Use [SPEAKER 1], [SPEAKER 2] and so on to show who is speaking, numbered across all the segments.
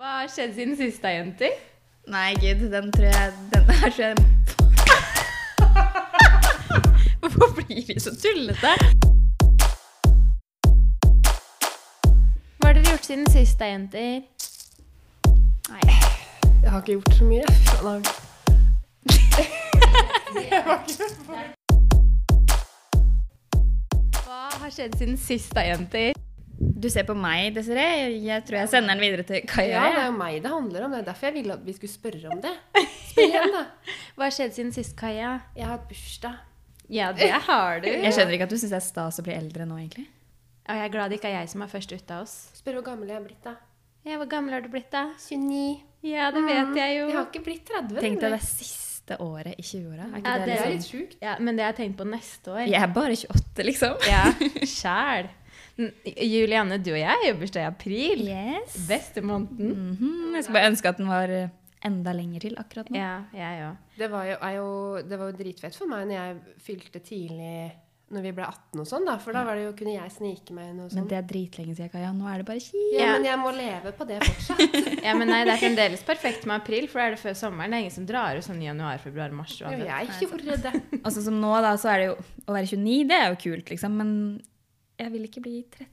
[SPEAKER 1] har skjedd siden sist, da, jenter?
[SPEAKER 2] Nei, gud, den tror jeg Den er så Hvorfor blir vi så tullete?
[SPEAKER 1] Hva har dere gjort siden sist, da, jenter?
[SPEAKER 2] Nei.
[SPEAKER 3] Jeg har ikke gjort så mye. Faen, da.
[SPEAKER 1] Hva har skjedd siden sist, da, jenter?
[SPEAKER 2] Du ser på meg, Desiree. Jeg tror jeg sender den videre til
[SPEAKER 3] Ja,
[SPEAKER 2] Kaja.
[SPEAKER 3] det er jo meg det handler om. Det er derfor jeg ville at vi skulle spørre om det. Spør igjen, da.
[SPEAKER 1] Hva har skjedd siden sist, Kaja?
[SPEAKER 3] Jeg har hatt bursdag.
[SPEAKER 1] Ja, det har du.
[SPEAKER 2] Jeg skjønner ikke at du syns det er stas å bli eldre nå, egentlig.
[SPEAKER 1] Og jeg er glad det ikke er jeg som er først ute av oss.
[SPEAKER 3] Spør hvor gammel jeg har blitt, da.
[SPEAKER 1] Ja, Hvor gammel har du blitt, da?
[SPEAKER 3] 29.
[SPEAKER 1] Ja, det
[SPEAKER 2] Mm.
[SPEAKER 1] vet jeg jo.
[SPEAKER 3] Jeg har ikke blitt 30.
[SPEAKER 2] Tenk deg
[SPEAKER 3] nemlig.
[SPEAKER 2] det er siste året i 20-åra.
[SPEAKER 1] Ja,
[SPEAKER 2] Er ikke det
[SPEAKER 3] Det er
[SPEAKER 1] det-
[SPEAKER 2] litt
[SPEAKER 3] litt sjukt.
[SPEAKER 1] Ja, Men det har jeg tenkt på neste år.
[SPEAKER 2] sånn Jeg er bare 28, liksom.
[SPEAKER 1] Ja, sjæl. N- Julianne, du og jeg har bursdag i april.
[SPEAKER 2] Yes.
[SPEAKER 1] Beste måneden.
[SPEAKER 3] Mm.
[SPEAKER 2] Mhm, Jeg skulle bare ønske at den var eh, enda lenger til akkurat nå.
[SPEAKER 1] Ja, jeg òg.
[SPEAKER 3] Det var jo, er jo, det var jo dritfett for meg når jeg fylte tidlig når vi ble 18 og sånn, da. For da var det jo, kunne jeg snike meg inn og
[SPEAKER 2] Men
[SPEAKER 3] sånn.
[SPEAKER 2] det er dritlenge siden, Kaja. Nå er det bare kjipt.
[SPEAKER 3] Ja,
[SPEAKER 1] Ja.
[SPEAKER 3] men jeg må leve på det fortsatt.
[SPEAKER 1] Ja, men nei, Det er fremdeles perfekt med april, for da er det før sommeren. Det er ingen som drar ut sånn i januar, februar, mars.
[SPEAKER 3] Jo,
[SPEAKER 1] uansett.
[SPEAKER 3] jeg gjorde det.
[SPEAKER 2] Og sånn som nå, da, så er det jo Å være 29, det er jo kult, liksom, men jeg vil ikke bli 30.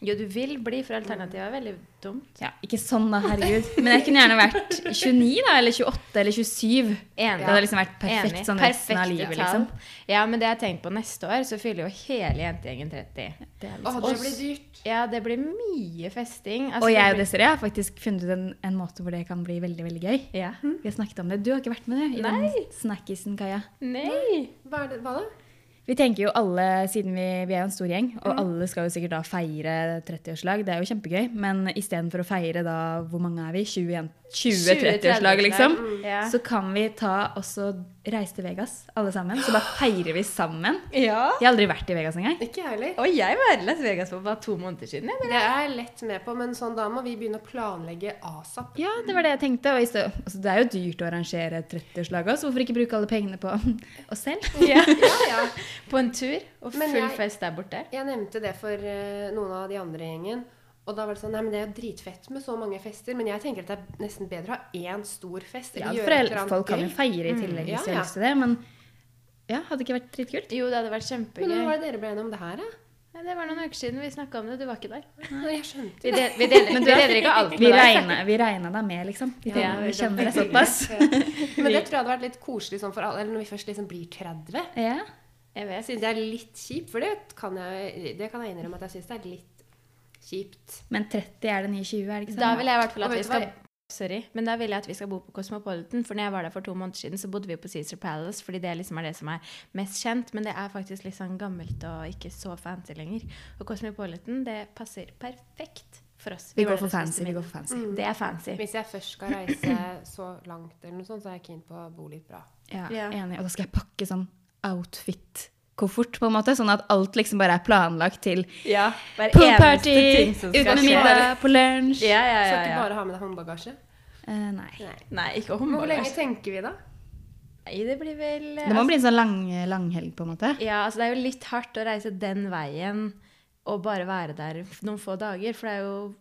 [SPEAKER 1] Jo, du vil bli, for alternativet er veldig dumt.
[SPEAKER 2] Ja, ikke sånn, da, herregud. Men jeg kunne gjerne vært 29, da, eller 28, eller 27. Det
[SPEAKER 1] Enig.
[SPEAKER 2] hadde liksom vært perfekt
[SPEAKER 1] Enig.
[SPEAKER 2] sånn resten av
[SPEAKER 1] Perfekte
[SPEAKER 2] livet,
[SPEAKER 1] tall.
[SPEAKER 2] liksom.
[SPEAKER 1] Ja, men det jeg har tenkt på neste år, så fyller jo hele jentegjengen 30.
[SPEAKER 2] Det er
[SPEAKER 3] Å,
[SPEAKER 2] liksom.
[SPEAKER 3] det blir dyrt.
[SPEAKER 1] Ja, det blir mye festing. Altså,
[SPEAKER 2] Og
[SPEAKER 1] det
[SPEAKER 2] jeg og
[SPEAKER 1] blir-
[SPEAKER 2] Desiree har faktisk funnet ut en, en måte hvor det kan bli veldig veldig gøy.
[SPEAKER 1] Ja.
[SPEAKER 2] Vi har snakket om det. Du har ikke vært med, du. I
[SPEAKER 1] Nei.
[SPEAKER 2] den snackisen, Kaja.
[SPEAKER 1] Nei!
[SPEAKER 3] Hva, er det, hva da?
[SPEAKER 2] Vi tenker jo alle, siden vi, vi er jo en stor gjeng, og alle skal jo sikkert da feire 30-årslag. Det er jo kjempegøy. Men istedenfor å feire da hvor mange er vi? 20 jen- 20 30-årslag, liksom.
[SPEAKER 1] mm, Ja.
[SPEAKER 2] Så kan vi ta også reise til Vegas, alle sammen. Så bare feirer vi sammen.
[SPEAKER 1] ja.
[SPEAKER 2] Jeg har aldri vært i Vegas engang.
[SPEAKER 3] Ikke jeg heller.
[SPEAKER 1] Og jeg var i Las Vegas for bare to måneder siden. Jeg.
[SPEAKER 3] Det er jeg lett med på, men sånn da må vi begynne å planlegge asap.
[SPEAKER 2] Ja, det var det jeg tenkte. Og i sted- altså, det er jo dyrt å arrangere 30-årslag også. så Hvorfor ikke bruke alle pengene på oss selv?
[SPEAKER 3] Ja, ja.
[SPEAKER 1] På en tur og
[SPEAKER 3] Men
[SPEAKER 1] full
[SPEAKER 3] jeg-
[SPEAKER 1] fest der borte.
[SPEAKER 3] Jeg nevnte det for eh, noen av de andre i gjengen. Og da var det sånn Nei, men det er jo dritfett med så mange fester, men jeg tenker at det er nesten bedre å ha én stor fest.
[SPEAKER 2] Ja,
[SPEAKER 3] eller gjøre et eller
[SPEAKER 2] for
[SPEAKER 3] annet
[SPEAKER 2] folk kan jo
[SPEAKER 3] gøy.
[SPEAKER 2] feire i tillegg
[SPEAKER 3] Ja,
[SPEAKER 2] hvis de har
[SPEAKER 3] ja.
[SPEAKER 2] lyst til det, men ja, hadde ikke vært dritkult.
[SPEAKER 1] Jo, det hadde vært kjempegøy.
[SPEAKER 3] Men hva var det dere ble enige om det her, da?
[SPEAKER 1] Nei, Det var noen uker siden vi snakka om det. Du var ikke der.
[SPEAKER 3] Nei, Jeg skjønte
[SPEAKER 1] Vi, del, vi, deler, vi deler ikke alt
[SPEAKER 2] Vi
[SPEAKER 1] med deg.
[SPEAKER 2] regna, vi regna da med, liksom. Vi,
[SPEAKER 1] Ja,
[SPEAKER 2] tenkte,
[SPEAKER 1] vi
[SPEAKER 2] vi kjenner det såpass.
[SPEAKER 3] Men det tror jeg hadde vært litt koselig sånn for alle, eller når vi først liksom blir 30.
[SPEAKER 2] Ja.
[SPEAKER 1] Jeg
[SPEAKER 3] Jeg
[SPEAKER 1] vet.
[SPEAKER 3] syns det er litt kjipt, for det kan jeg, det kan jeg innrømme at jeg syns det er litt kjipt.
[SPEAKER 2] Men 30 er det nye 20, er det ikke sånn? sant?
[SPEAKER 1] Da vil jeg i hvert fall
[SPEAKER 3] Og
[SPEAKER 1] at vi
[SPEAKER 3] vet du
[SPEAKER 1] skal
[SPEAKER 3] hva?
[SPEAKER 1] Sorry, men da vil jeg at vi skal bo på Cosmopolitan. For når jeg var der for to måneder siden, så bodde vi på Cæsar Palace, fordi det liksom er det som er mest kjent. Men det er faktisk litt sånn gammelt og ikke så fancy lenger. Og Cosmopolitan, det passer perfekt for oss.
[SPEAKER 2] vi
[SPEAKER 1] var
[SPEAKER 2] går
[SPEAKER 1] der
[SPEAKER 2] for
[SPEAKER 1] og spiste
[SPEAKER 2] fancy. vi
[SPEAKER 1] middag.
[SPEAKER 2] går for fancy.
[SPEAKER 1] Mm. Det er fancy.
[SPEAKER 3] Hvis jeg først skal reise så langt, eller noe sånt, så er jeg keen på å bo litt bra.
[SPEAKER 2] Ja,
[SPEAKER 1] Ja.
[SPEAKER 2] Enig. Og da skal jeg pakke sånn outfit-koffert, på en måte, sånn at alt liksom bare er planlagt til
[SPEAKER 1] Ja, hver
[SPEAKER 2] pool
[SPEAKER 1] eneste
[SPEAKER 2] party,
[SPEAKER 1] ting som
[SPEAKER 2] ut
[SPEAKER 1] skal
[SPEAKER 2] med
[SPEAKER 1] skje.
[SPEAKER 2] middag, på lunsj.
[SPEAKER 1] Ja, ja,
[SPEAKER 3] Skal
[SPEAKER 1] ja,
[SPEAKER 3] ikke
[SPEAKER 1] ja.
[SPEAKER 3] bare ha med deg håndbagasje.
[SPEAKER 2] Eh, nei.
[SPEAKER 3] Nei.
[SPEAKER 1] Nei, ikke
[SPEAKER 3] Men hvor lenge
[SPEAKER 1] håndball.
[SPEAKER 3] tenker vi, da?
[SPEAKER 1] Nei, det blir vel
[SPEAKER 2] Det må bli en sånn lang, langhelg, på en måte.
[SPEAKER 1] Ja, altså det er jo litt hardt å reise den veien og bare være der noen få dager, for det er jo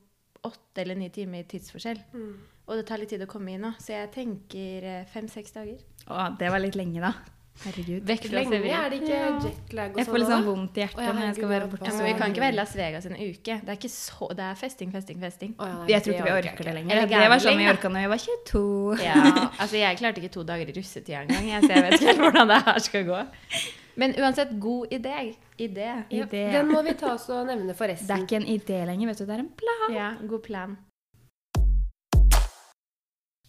[SPEAKER 1] åtte eller ni timer i tidsforskjell.
[SPEAKER 3] Mm.
[SPEAKER 1] Og det tar litt tid å komme inn nå, så jeg tenker eh, fem-seks dager.
[SPEAKER 2] Å, det var litt lenge, da. Herregud.
[SPEAKER 1] Vekk fra
[SPEAKER 3] Lenge
[SPEAKER 1] Severin.
[SPEAKER 3] er det ikke jetlag og sånn?
[SPEAKER 2] Jeg får litt sånn
[SPEAKER 3] da?
[SPEAKER 2] vondt i hjertet
[SPEAKER 3] Å, ja,
[SPEAKER 2] når jeg skal være
[SPEAKER 3] herregud,
[SPEAKER 2] borte.
[SPEAKER 1] Ja,
[SPEAKER 3] altså.
[SPEAKER 1] men vi kan ikke være i Las Vegas en uke. Det er, ikke så, det er festing, festing, festing.
[SPEAKER 3] Å, ja, nei,
[SPEAKER 2] Jeg tror ikke vi
[SPEAKER 3] orker jeg
[SPEAKER 2] orker det lenger.
[SPEAKER 1] Eller
[SPEAKER 2] Det var sånn vi
[SPEAKER 1] gambling, da.
[SPEAKER 2] orka når vi var 22.
[SPEAKER 1] Ja, altså jeg klarte ikke to dager i russetida engang, jeg, så jeg vet ikke helt hvordan det her skal gå. Men uansett, god idé. Idé.
[SPEAKER 2] I det,
[SPEAKER 3] Den må vi ta oss og nevne for
[SPEAKER 2] det er
[SPEAKER 3] resten.
[SPEAKER 2] ikke en idé lenger, vet du. Det er en plan.
[SPEAKER 1] Ja, god plan.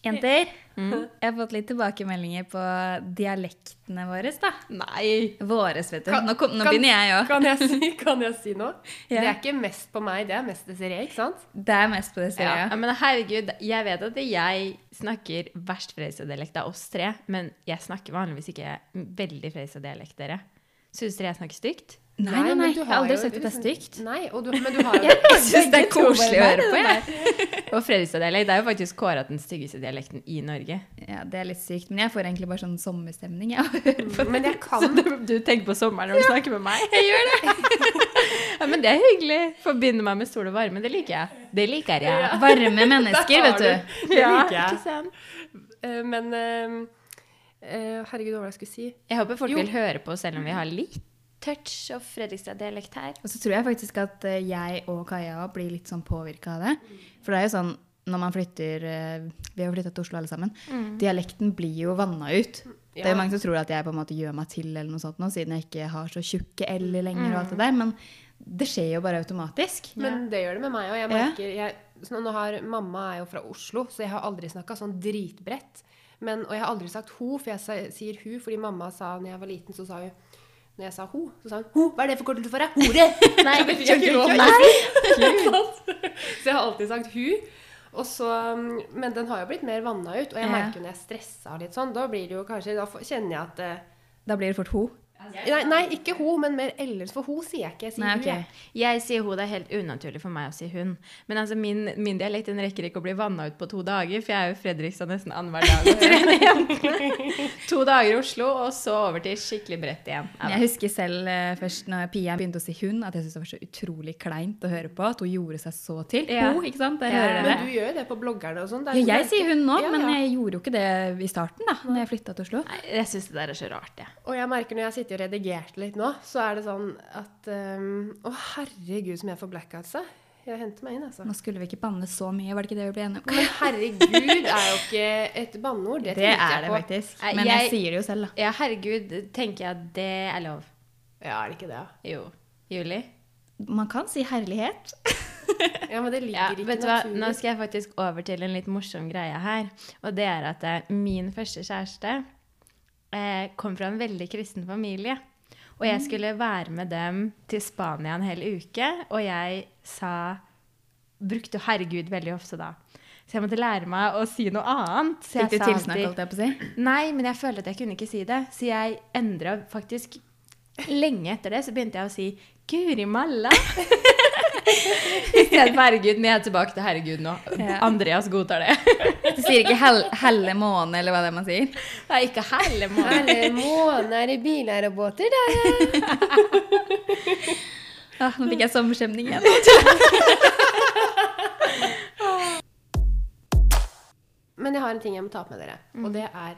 [SPEAKER 2] Jenter,
[SPEAKER 1] Mm.
[SPEAKER 2] jeg har fått litt tilbakemeldinger på dialektene våre. da.
[SPEAKER 1] Nei!
[SPEAKER 2] Våres, vet du.
[SPEAKER 3] Kan-
[SPEAKER 2] Nå, kom, nå
[SPEAKER 3] kan-
[SPEAKER 2] begynner jeg òg.
[SPEAKER 3] Kan jeg si, kan jeg si noe?
[SPEAKER 2] Ja.
[SPEAKER 3] Det er ikke mest på meg, det er mest Desiree, ikke sant?
[SPEAKER 2] Det er mest på det
[SPEAKER 1] Ja.
[SPEAKER 2] stedet.
[SPEAKER 1] men herregud, jeg vet at jeg snakker verst Freisa-dialekt av oss tre, men jeg snakker vanligvis ikke veldig Freisa-dialekt, dere. Syns dere jeg snakker stygt?
[SPEAKER 2] Nei, nei, nei.
[SPEAKER 3] men du
[SPEAKER 2] Jeg
[SPEAKER 3] har
[SPEAKER 2] har aldri
[SPEAKER 3] jo- liksom-
[SPEAKER 2] sagt at det liksom. er stygt.
[SPEAKER 3] Nei, og du, men du har jo
[SPEAKER 2] Jeg syns det er koselig å høre på. jeg.
[SPEAKER 1] Og Fredrikstad-dialekt er jo faktisk kåra den styggeste dialekten i Norge.
[SPEAKER 2] Ja, Det er litt sykt. Men jeg får egentlig bare sånn sommerstemning. Jeg, av å høre på.
[SPEAKER 3] Men jeg
[SPEAKER 1] Så
[SPEAKER 3] kan
[SPEAKER 1] du, du tenker på sommeren når du snakker med meg?
[SPEAKER 2] jeg gjør det.
[SPEAKER 1] Ja, men det er hyggelig. Forbinder meg med sol og varme. Det liker jeg. Det liker jeg.
[SPEAKER 2] Varme mennesker, vet du.
[SPEAKER 3] Det liker
[SPEAKER 1] ikke
[SPEAKER 3] jeg.
[SPEAKER 1] sant?
[SPEAKER 3] Eh, Men eh, eh, herregud, hva var det jeg skulle si?
[SPEAKER 1] Jeg håper folk
[SPEAKER 3] Jo.
[SPEAKER 1] vil høre på, selv om vi har litt touch og Fredrikstad-dialekt her.
[SPEAKER 2] Og så tror jeg faktisk at eh, jeg og Kaja blir litt sånn påvirka av det. For det er jo sånn når man flytter eh, Vi har flytta til Oslo alle sammen. Dialekten blir jo vanna ut. Det er
[SPEAKER 3] Ja.
[SPEAKER 2] jo mange som tror at jeg på en måte gjør meg til, eller noe sånt nå, siden jeg ikke har så tjukke l-er lenger. og alt det der, Men det skjer jo bare automatisk.
[SPEAKER 3] Men det gjør det med meg òg. Jeg
[SPEAKER 2] Ja.
[SPEAKER 3] merker jeg, sånn, nå har, Mamma er jo fra Oslo, så jeg har aldri snakka sånn dritbredt. Men, og jeg har aldri sagt ho, for jeg sa- sier hu fordi mamma sa når jeg var liten, så sa hun Når jeg sa ho, så sa hun ho, hva er det forkortelse for? deg? Hore!
[SPEAKER 1] Nei,
[SPEAKER 3] Så det fikk jeg ikke lov.
[SPEAKER 1] Nei.
[SPEAKER 3] så jeg har alltid sagt hu. Og så, um, men den har jo blitt mer vanna ut, og jeg
[SPEAKER 2] Ja.
[SPEAKER 3] merker jo når jeg stressa litt sånn, da blir det jo kanskje Da får- kjenner jeg at eh,
[SPEAKER 2] Da blir det fort ho.
[SPEAKER 3] Nei, nei ikke ho, men mer ellers, for ho sier jeg ikke. Jeg sier
[SPEAKER 2] Nei,
[SPEAKER 3] hu.
[SPEAKER 2] ok.
[SPEAKER 3] jeg.
[SPEAKER 1] Jeg sier hun, det er helt unaturlig for meg å si hun. Men altså, min, min dialekt den rekker ikke å bli vanna ut på to dager, for jeg er jo i Fredrikstad nesten annenhver dag. og trener hjemme. to dager i Oslo, og så over til skikkelig bredt igjen. Ja,
[SPEAKER 2] Men Jeg husker selv eh, først når Pia begynte å si hun, at jeg syntes det var så utrolig kleint å høre på. At hun gjorde seg så til.
[SPEAKER 1] Ja.
[SPEAKER 2] Ho, ikke sant? Jeg
[SPEAKER 1] Ja.
[SPEAKER 2] hører det.
[SPEAKER 3] Men du gjør jo det på bloggerne og sånn. det er
[SPEAKER 2] Ja,
[SPEAKER 3] jo
[SPEAKER 2] jeg
[SPEAKER 3] merke-
[SPEAKER 2] sier hun nå,
[SPEAKER 3] Ja,
[SPEAKER 2] men
[SPEAKER 3] ja.
[SPEAKER 2] jeg gjorde jo ikke det i starten da når jeg flytta til Oslo.
[SPEAKER 1] Nei, jeg syns det der er så rart, jeg.
[SPEAKER 3] Og jeg merker når jeg sitter og redigerte litt nå, så er det sånn at ehm, Å, herregud som jeg får blackouts av. Jeg henter meg inn, altså.
[SPEAKER 2] Nå skulle vi ikke banne så mye, var det ikke det vi ble enige om?
[SPEAKER 3] Men herregud er jo ikke et banneord. Det,
[SPEAKER 2] Det
[SPEAKER 3] tenkte jeg
[SPEAKER 2] er det
[SPEAKER 3] på.
[SPEAKER 2] faktisk.
[SPEAKER 1] Nei,
[SPEAKER 2] Men jeg
[SPEAKER 1] jeg-
[SPEAKER 2] sier det jo selv, da.
[SPEAKER 1] Ja, herregud, tenker jeg at det er lov.
[SPEAKER 3] Ja, er det ikke det? da?
[SPEAKER 1] Jo. Juli?
[SPEAKER 2] Man kan si herlighet.
[SPEAKER 3] Ja, men det ligger
[SPEAKER 1] Ja,
[SPEAKER 3] ikke
[SPEAKER 1] vet du hva?
[SPEAKER 3] naturlig.
[SPEAKER 1] Nå skal jeg faktisk over til en litt morsom greie her. Og det er at eh, min første kjæreste eh, kom fra en veldig kristen familie. Og
[SPEAKER 2] Mm.
[SPEAKER 1] jeg skulle være med dem til Spania en hel uke, og jeg sa Brukte 'herregud' veldig ofte da. Så jeg måtte lære meg å si noe annet. Så jeg
[SPEAKER 2] Fikk du
[SPEAKER 1] sa
[SPEAKER 2] tilsnakk,
[SPEAKER 1] alltid-
[SPEAKER 2] holdt jeg på å si?
[SPEAKER 1] Nei, men jeg følte at jeg kunne ikke si det. Så jeg endra faktisk Lenge etter det så begynte jeg å si 'Guri malla'. I stedet for 'herregud'. Men jeg er tilbake til 'herregud' nå.
[SPEAKER 2] Ja.
[SPEAKER 1] Andreas godtar det.
[SPEAKER 2] Du sier ikke hel helle måne, eller hva det er man sier?
[SPEAKER 1] Det er ikke hele måneden.
[SPEAKER 3] Herre måner i biler og båter, det.
[SPEAKER 2] Ah, nå fikk jeg sommerskjemning igjen.
[SPEAKER 3] Men jeg har en ting jeg må ta opp med dere.
[SPEAKER 2] Mm.
[SPEAKER 3] Og det er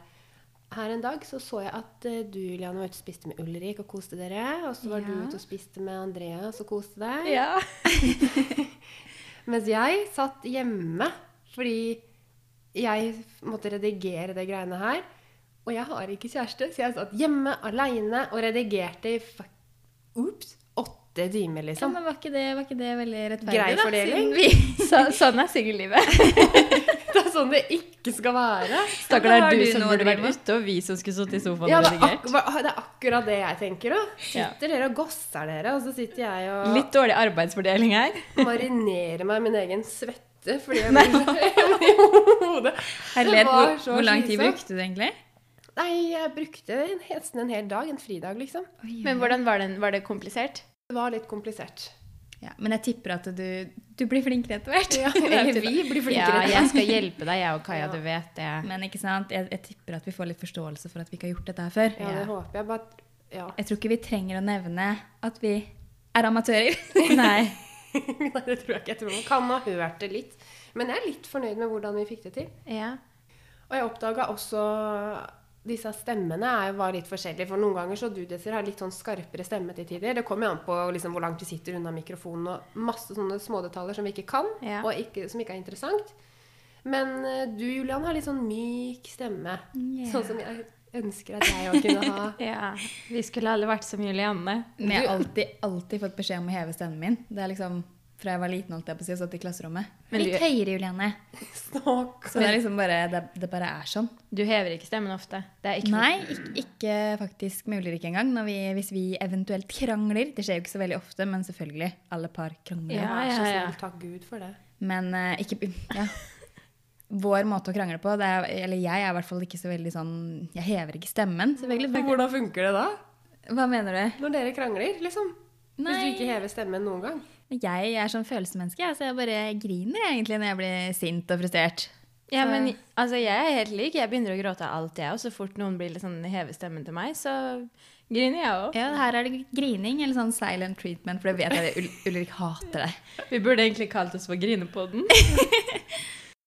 [SPEAKER 3] her en dag så så jeg at eh, du Julian, var ute og spiste med Ulrik og koste dere. Og så var du ute og spiste med Andreas og koste deg.
[SPEAKER 1] Ja.
[SPEAKER 3] Mens jeg satt hjemme fordi jeg måtte redigere det greiene her. Og jeg har ikke kjæreste, så jeg satt hjemme aleine og redigerte i fuck, ups, åtte timer,
[SPEAKER 2] Ja,
[SPEAKER 3] liksom.
[SPEAKER 2] men var ikke det, var ikke det veldig rettferdig,
[SPEAKER 3] Grei
[SPEAKER 2] siden
[SPEAKER 3] fordeling.
[SPEAKER 2] vi-
[SPEAKER 1] Så, sånn er singellivet.
[SPEAKER 3] Det er sånn det ikke skal være.
[SPEAKER 1] Stakkar,
[SPEAKER 2] Da
[SPEAKER 1] det
[SPEAKER 2] har
[SPEAKER 1] er du
[SPEAKER 2] du
[SPEAKER 1] som
[SPEAKER 2] noe å
[SPEAKER 1] burde
[SPEAKER 2] drive
[SPEAKER 1] vært
[SPEAKER 2] med.
[SPEAKER 1] ute, og vi som skulle sittet i sofaen
[SPEAKER 3] Ja,
[SPEAKER 1] og
[SPEAKER 3] det, er
[SPEAKER 1] redigert.
[SPEAKER 3] akkurat, det er akkurat det jeg tenker òg.
[SPEAKER 1] Ja.
[SPEAKER 3] Sitter dere og gosser dere, og så sitter jeg og
[SPEAKER 1] Litt dårlig arbeidsfordeling her.
[SPEAKER 3] marinerer meg i min egen svette fordi jeg blir i hodet. Det
[SPEAKER 2] Herlighet,
[SPEAKER 3] var
[SPEAKER 2] hvor,
[SPEAKER 3] så
[SPEAKER 2] hvor lang tid
[SPEAKER 3] slitsomt.
[SPEAKER 2] brukte du egentlig?
[SPEAKER 3] Nei, jeg brukte en- nesten en hel dag. En fridag, liksom.
[SPEAKER 1] Men hvordan var, den, var det komplisert?
[SPEAKER 3] Det var litt komplisert.
[SPEAKER 2] Ja, men jeg tipper at du, du blir flinkere etter hvert.
[SPEAKER 3] Ja, eller vi blir
[SPEAKER 1] Ja,
[SPEAKER 3] flinkere.
[SPEAKER 1] jeg skal hjelpe deg, jeg og Kaja.
[SPEAKER 3] Ja.
[SPEAKER 1] Du vet det.
[SPEAKER 2] Men ikke sant? Jeg, jeg tipper at vi får litt forståelse for at vi ikke har gjort dette her før.
[SPEAKER 3] Ja, det håper jeg. Bare at- ja.
[SPEAKER 2] Jeg tror ikke vi trenger å nevne at vi er amatører.
[SPEAKER 1] Nei.
[SPEAKER 3] Nei, det tror jeg ikke. Jeg tror man kan ha hørt det litt. Men jeg er litt fornøyd med hvordan vi fikk det til.
[SPEAKER 1] Ja.
[SPEAKER 3] Og jeg oppdaga også disse stemmene er, var litt forskjellige. For noen ganger så du, Desir, har litt sånn skarpere stemme til tider. Det kommer jo an på liksom, hvor langt du sitter unna mikrofonen og masse sånne smådetaljer som vi ikke kan,
[SPEAKER 1] Ja.
[SPEAKER 3] og ikke, som ikke er interessant. Men eh, du, Julian, har litt sånn myk stemme.
[SPEAKER 2] Ja.
[SPEAKER 3] Sånn som jeg ønsker at jeg òg kunne ha.
[SPEAKER 1] ja. Vi skulle alle vært som Julianne.
[SPEAKER 2] Men jeg har alltid, alltid fått beskjed om å heve stemmen min. Det er liksom fra jeg var liten, holdt jeg på å si, og satt i klasserommet.
[SPEAKER 1] Men
[SPEAKER 2] Litt
[SPEAKER 1] du-
[SPEAKER 2] høyere, Juliane.
[SPEAKER 3] Snakk.
[SPEAKER 2] Så det er liksom bare, det, det bare er sånn.
[SPEAKER 1] Du hever ikke stemmen ofte. Det er ikke
[SPEAKER 2] Nei, ikke, ikke faktisk med Ulrik engang. Når vi, hvis vi eventuelt krangler. Det skjer jo ikke så veldig ofte, men selvfølgelig. Alle par krangler.
[SPEAKER 1] Ja,
[SPEAKER 3] Vær så
[SPEAKER 1] ja, ja.
[SPEAKER 3] snill, takk Gud for det.
[SPEAKER 2] Men eh, ikke ja. Vår måte å krangle på det er, Eller jeg er i hvert fall ikke så veldig sånn Jeg hever ikke stemmen, selvfølgelig.
[SPEAKER 3] Hvordan funker det da?
[SPEAKER 2] Hva mener du?
[SPEAKER 3] Når dere krangler, liksom? Hvis du
[SPEAKER 2] Nei.
[SPEAKER 3] ikke hever stemmen noen gang?
[SPEAKER 2] Jeg er sånn følelsesmenneske, jeg, så jeg bare griner egentlig når jeg blir sint og frustrert.
[SPEAKER 1] Ja, men altså, jeg er helt lik. Jeg begynner å gråte av alt, jeg òg. Så fort noen blir litt sånn hever stemmen til meg, så griner jeg òg.
[SPEAKER 2] Ja, her er det grining eller sånn silent treatment, for det vet jeg det Ul Ulrik hater det.
[SPEAKER 1] Vi burde egentlig kalt oss for Grinepodden.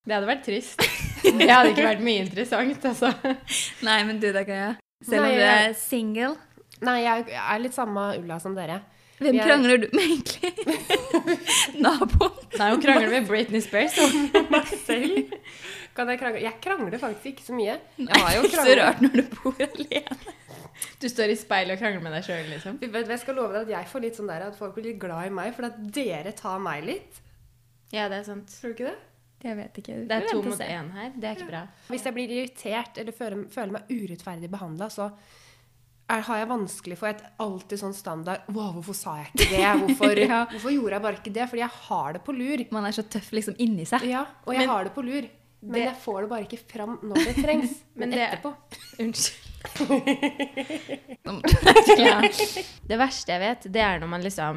[SPEAKER 1] Det hadde vært trist. Det hadde ikke vært mye interessant, altså.
[SPEAKER 2] Nei, men du da, Kaja. Selv om
[SPEAKER 3] Nei,
[SPEAKER 2] du
[SPEAKER 3] jeg-
[SPEAKER 2] er single.
[SPEAKER 3] Nei, jeg er litt samme ulla som dere.
[SPEAKER 2] Hvem
[SPEAKER 3] Jeg-
[SPEAKER 2] krangler du med egentlig? Naboen?
[SPEAKER 1] Nei, hun krangler med Britney Spears. hun.
[SPEAKER 3] Meg selv? Kan jeg krangle? Jeg krangler faktisk ikke så mye. Jeg har
[SPEAKER 2] Nei,
[SPEAKER 3] jo
[SPEAKER 2] ikke så
[SPEAKER 3] kranglet.
[SPEAKER 2] rart når du bor alene.
[SPEAKER 1] Du står i speilet og krangler med deg sjøl, liksom.
[SPEAKER 3] Vet du hva, Jeg skal love deg at jeg får litt sånn der at folk blir litt glad i meg, for at dere tar meg litt.
[SPEAKER 1] Ja, det er sant.
[SPEAKER 3] Tror du ikke det?
[SPEAKER 2] Jeg vet ikke.
[SPEAKER 1] Det er to mot én her. Det er ikke bra.
[SPEAKER 3] Hvis jeg blir irritert eller føler, føler meg urettferdig behandla, så er, har jeg vanskelig for et alltid sånn standard Wow, hvorfor sa jeg ikke det? Hvorfor,
[SPEAKER 2] Ja.
[SPEAKER 3] hvorfor gjorde jeg bare ikke det? Fordi jeg har det på lur.
[SPEAKER 2] Man er så tøff liksom inni seg.
[SPEAKER 3] Ja, og jeg har det på lur. Men
[SPEAKER 1] Det-
[SPEAKER 3] jeg får det bare ikke fram når det trengs.
[SPEAKER 1] Men
[SPEAKER 3] Men
[SPEAKER 1] det-
[SPEAKER 3] etterpå.
[SPEAKER 1] Unnskyld.
[SPEAKER 2] Nå må-
[SPEAKER 1] Ja. Det verste jeg vet, det er når man liksom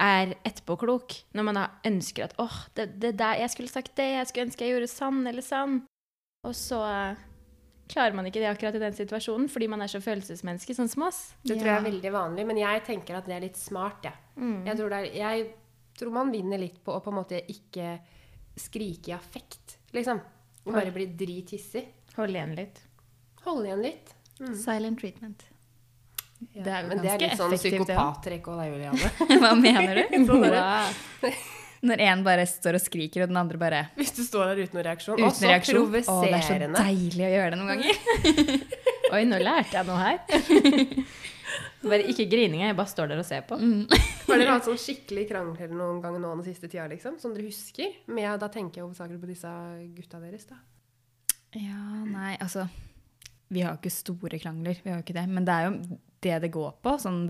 [SPEAKER 1] er etterpåklok. Når man da ønsker at åh, det, det der, jeg skulle sagt det, jeg skulle ønske jeg gjorde sånn eller sånn. Og så eh, klarer man ikke det akkurat i den situasjonen fordi man er så følelsesmenneske, sånn som oss.
[SPEAKER 3] Det
[SPEAKER 2] Ja.
[SPEAKER 3] tror jeg er veldig vanlig, men jeg tenker at det er litt smart, jeg. Jeg, tror det er, jeg tror man vinner litt på å på en måte ikke skrike i affekt, liksom. Og Bare bli drithissig.
[SPEAKER 1] Hold igjen litt.
[SPEAKER 3] Hold igjen litt.
[SPEAKER 2] Silent treatment. Det er jo
[SPEAKER 3] men det er
[SPEAKER 2] ganske
[SPEAKER 3] litt sånn
[SPEAKER 2] effektivt, det også.
[SPEAKER 3] psykopattrekk òg, da, Juliane.
[SPEAKER 2] Hva mener du?
[SPEAKER 1] Wow.
[SPEAKER 2] Når én bare står og skriker, og den andre bare
[SPEAKER 3] Hvis du står der uten noen reaksjon.
[SPEAKER 2] uten
[SPEAKER 3] og så
[SPEAKER 2] reaksjon. Å, det er så
[SPEAKER 3] provoserende.
[SPEAKER 2] deilig å gjøre det noen ganger.
[SPEAKER 1] Oi, nå lærte jeg noe her. Bare ikke grininga, jeg bare står der og ser på.
[SPEAKER 2] Mm.
[SPEAKER 3] Har dere hatt sånn skikkelig krangel noen ganger nå den siste tida, liksom? Som dere husker? Med, da tenker jeg hovedsakelig på disse gutta deres, da.
[SPEAKER 2] Ja, nei, altså Vi har jo ikke store krangler, vi har jo ikke det. Men det er jo det det går på, sånn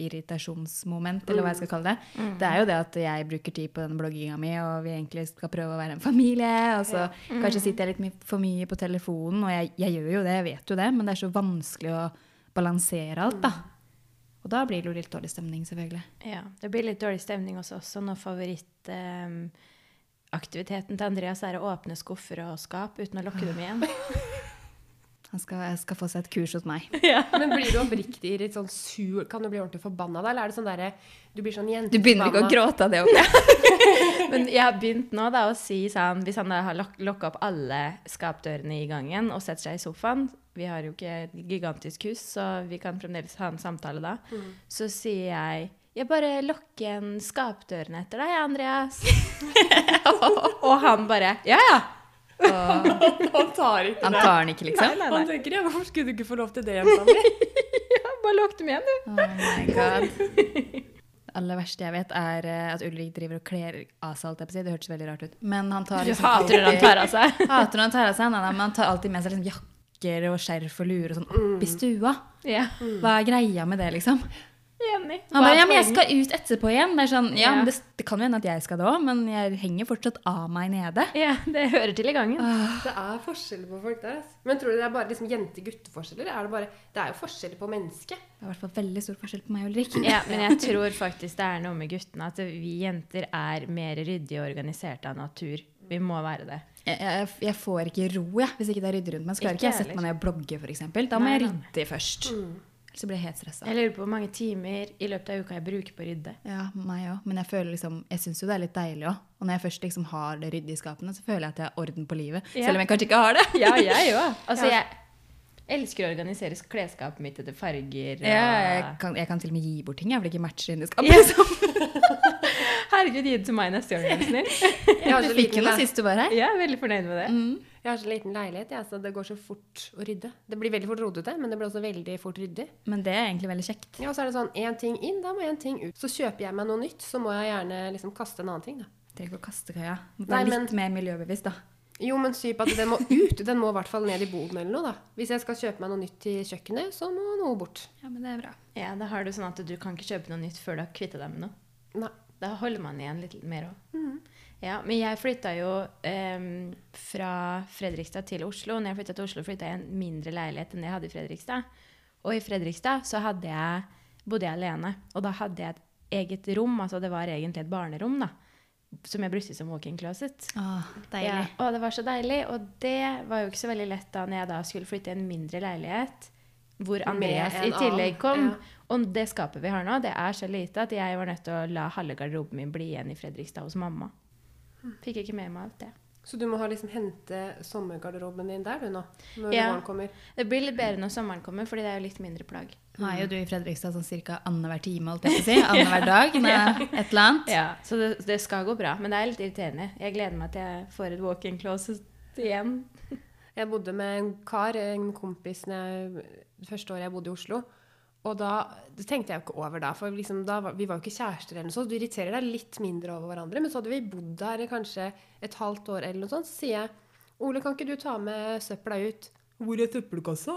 [SPEAKER 2] hverdagsirritasjonsmoment, eller hva
[SPEAKER 3] Mm.
[SPEAKER 2] jeg skal kalle det. Det er jo det at jeg bruker tid på den blogginga mi, og vi egentlig skal prøve å være en familie. Og så kanskje sitter jeg litt my- for mye på telefonen, og jeg, jeg gjør jo det, jeg vet jo det, men det er så vanskelig å balansere alt, da. Og da blir det jo litt dårlig stemning, selvfølgelig.
[SPEAKER 1] Ja, Det blir litt dårlig stemning hos oss også når favorittaktiviteten ehm, til Andreas er å åpne skuffer og skap uten å lukke dem igjen.
[SPEAKER 2] Han skal, skal få seg et kurs hos meg.
[SPEAKER 3] Men blir du oppriktig litt sånn sur? Kan du bli ordentlig forbanna da? Eller er det sånn derre Du blir sånn jente
[SPEAKER 2] Du begynner ikke å gråte av det? Oppe.
[SPEAKER 1] Men jeg har begynt nå da å si sånn Hvis han da har lokka opp alle skapdørene i gangen og setter seg i sofaen Vi har jo ikke et gigantisk hus, så vi kan fremdeles ha en samtale da. Så sier jeg jeg bare lukker igjen skapdørene etter deg, Andreas. og han bare Ja, ja.
[SPEAKER 3] Han tar ikke
[SPEAKER 2] Han tar den ikke, liksom?
[SPEAKER 1] Nei, nei, nei.
[SPEAKER 3] tenker ja, hvorfor skulle du ikke få lov til det, jenta mi?
[SPEAKER 1] Bare lukk dem igjen, du.
[SPEAKER 2] Oh my god. Det aller verste jeg vet, er eh, at Ulrik driver og kler av seg alt. jeg på å si. Det hørtes veldig rart ut. Men han tar
[SPEAKER 1] Du
[SPEAKER 2] liksom
[SPEAKER 1] hater når han tar av seg.
[SPEAKER 2] Hater når han tar av seg. Nei, nei, men han tar alltid med seg liksom jakker og skjerf og luer og sånn opp i stua.
[SPEAKER 1] Ja,
[SPEAKER 2] Hva er greia med det, liksom?
[SPEAKER 1] enig. Mm. Hva er
[SPEAKER 2] Han bare, ja, men jeg
[SPEAKER 1] poenget?
[SPEAKER 2] skal ut etterpå igjen. Det er sånn, ja,
[SPEAKER 1] Ja.
[SPEAKER 2] men det, det kan jo hende at jeg skal det òg, men jeg henger fortsatt av meg nede.
[SPEAKER 1] Ja, det hører til i gangen.
[SPEAKER 3] Det er forskjeller på folk der. ass. Men tror du det er bare liksom jente-gutte-forskjeller? Er Det bare, det er jo forskjeller på mennesket.
[SPEAKER 2] Det er i hvert fall veldig stor forskjell på meg og Ulrik.
[SPEAKER 1] Ja, men jeg tror faktisk det er noe med guttene at vi jenter er mer ryddige og organiserte av natur. Vi må være det.
[SPEAKER 2] Jeg, jeg, jeg får ikke ro jeg, hvis ikke det er ryddig rundt meg. Så klarer
[SPEAKER 1] Ikke
[SPEAKER 2] ikke jeg sette meg ned og blogge, f.eks. Da
[SPEAKER 1] Nei, Mm.
[SPEAKER 2] må jeg
[SPEAKER 1] nei.
[SPEAKER 2] rydde først. Ellers så blir jeg helt stressa.
[SPEAKER 1] Jeg lurer på hvor mange timer i løpet av uka jeg bruker på å rydde.
[SPEAKER 2] Ja, meg òg. Men jeg føler liksom, jeg syns jo det er litt deilig òg. Og når jeg først liksom har det ryddig i skapene, så føler jeg at jeg har orden på livet.
[SPEAKER 1] Ja.
[SPEAKER 2] Selv om jeg kanskje ikke har det.
[SPEAKER 1] Ja, jeg òg. Altså,
[SPEAKER 3] Ja.
[SPEAKER 1] jeg elsker å organisere klesskapet mitt etter farger. Og...
[SPEAKER 2] Ja, jeg, kan, jeg kan til og med gi bort ting jeg, for det ikke matcher inn i skapet.
[SPEAKER 1] Ja.
[SPEAKER 2] Liksom.
[SPEAKER 1] sånn. Herregud, gi det til meg neste år, er du snill.
[SPEAKER 3] Jeg har
[SPEAKER 2] Du
[SPEAKER 3] så
[SPEAKER 2] fikk
[SPEAKER 3] liten,
[SPEAKER 2] jo noe
[SPEAKER 3] le-
[SPEAKER 2] sist du var her.
[SPEAKER 1] Jeg er veldig fornøyd med det.
[SPEAKER 3] jeg har så liten leilighet, jeg, så det går så fort å rydde. Det blir veldig fort rodete, men det blir også veldig fort ryddig.
[SPEAKER 2] Men det er egentlig veldig kjekt.
[SPEAKER 3] Ja, og så er det sånn én ting inn, da må én ting ut. Så kjøper jeg meg noe nytt, så må jeg gjerne liksom kaste en annen ting, da.
[SPEAKER 2] Trenger ikke å kaste kaia.
[SPEAKER 3] Nei,
[SPEAKER 2] Vær litt
[SPEAKER 3] men-
[SPEAKER 2] mer miljøbevisst, da.
[SPEAKER 3] Jo, men syp at den må ut. Den må i hvert fall ned i boden eller noe, da. Hvis jeg skal kjøpe meg noe nytt til kjøkkenet, så må noe bort.
[SPEAKER 2] Ja, men det er bra.
[SPEAKER 1] Ja, Da har du sånn at du kan ikke kjøpe noe nytt før du har kvittet deg med noe.
[SPEAKER 3] Nei.
[SPEAKER 1] Da holder man igjen litt mer òg. Ja, men jeg flytta jo em, fra Fredrikstad til Oslo. Når jeg flytta til Oslo, flytta jeg i en mindre leilighet enn jeg hadde i Fredrikstad. Og i Fredrikstad så hadde jeg, bodde jeg alene. Og da hadde jeg et eget rom, altså det var egentlig et barnerom, da. som jeg brukte som walk-in closet.
[SPEAKER 2] Åh, deilig.
[SPEAKER 1] Ja, og det var så deilig. Og det var jo ikke så veldig lett da når jeg da skulle flytte i en mindre leilighet. Hvor Andreas i
[SPEAKER 3] en
[SPEAKER 1] tillegg
[SPEAKER 3] annen,
[SPEAKER 1] kom.
[SPEAKER 3] ja.
[SPEAKER 1] Og det skapet vi har nå, det er så lite at jeg var nødt til å la halve garderoben min bli igjen i Fredrikstad hos mamma. Fikk ikke med meg alt det.
[SPEAKER 3] Så du må ha liksom hente sommergarderoben din der du nå? Når
[SPEAKER 1] Ja.
[SPEAKER 3] våren kommer?
[SPEAKER 1] Det blir litt bedre når sommeren kommer, fordi det er jo litt mindre plagg.
[SPEAKER 2] Nå er jo du i Fredrikstad sånn cirka annenhver time, holdt jeg på å si. Annenhver dag med et eller annet.
[SPEAKER 1] Ja, Så det, det skal gå bra. Men det er litt irriterende. Jeg gleder meg til jeg får et walk-in closet igjen.
[SPEAKER 3] Jeg bodde med en kar, en kompis, når jeg, det første året jeg bodde i Oslo. Og da, det tenkte jeg jo ikke over da, for liksom da var, vi var jo ikke kjærester eller noe sånt. Du irriterer deg litt mindre over hverandre, men så hadde vi bodd der i kanskje et halvt år eller noe sånt. Så sier jeg, Ole, kan ikke du ta med søpla ut? Hvor er søppelkassa?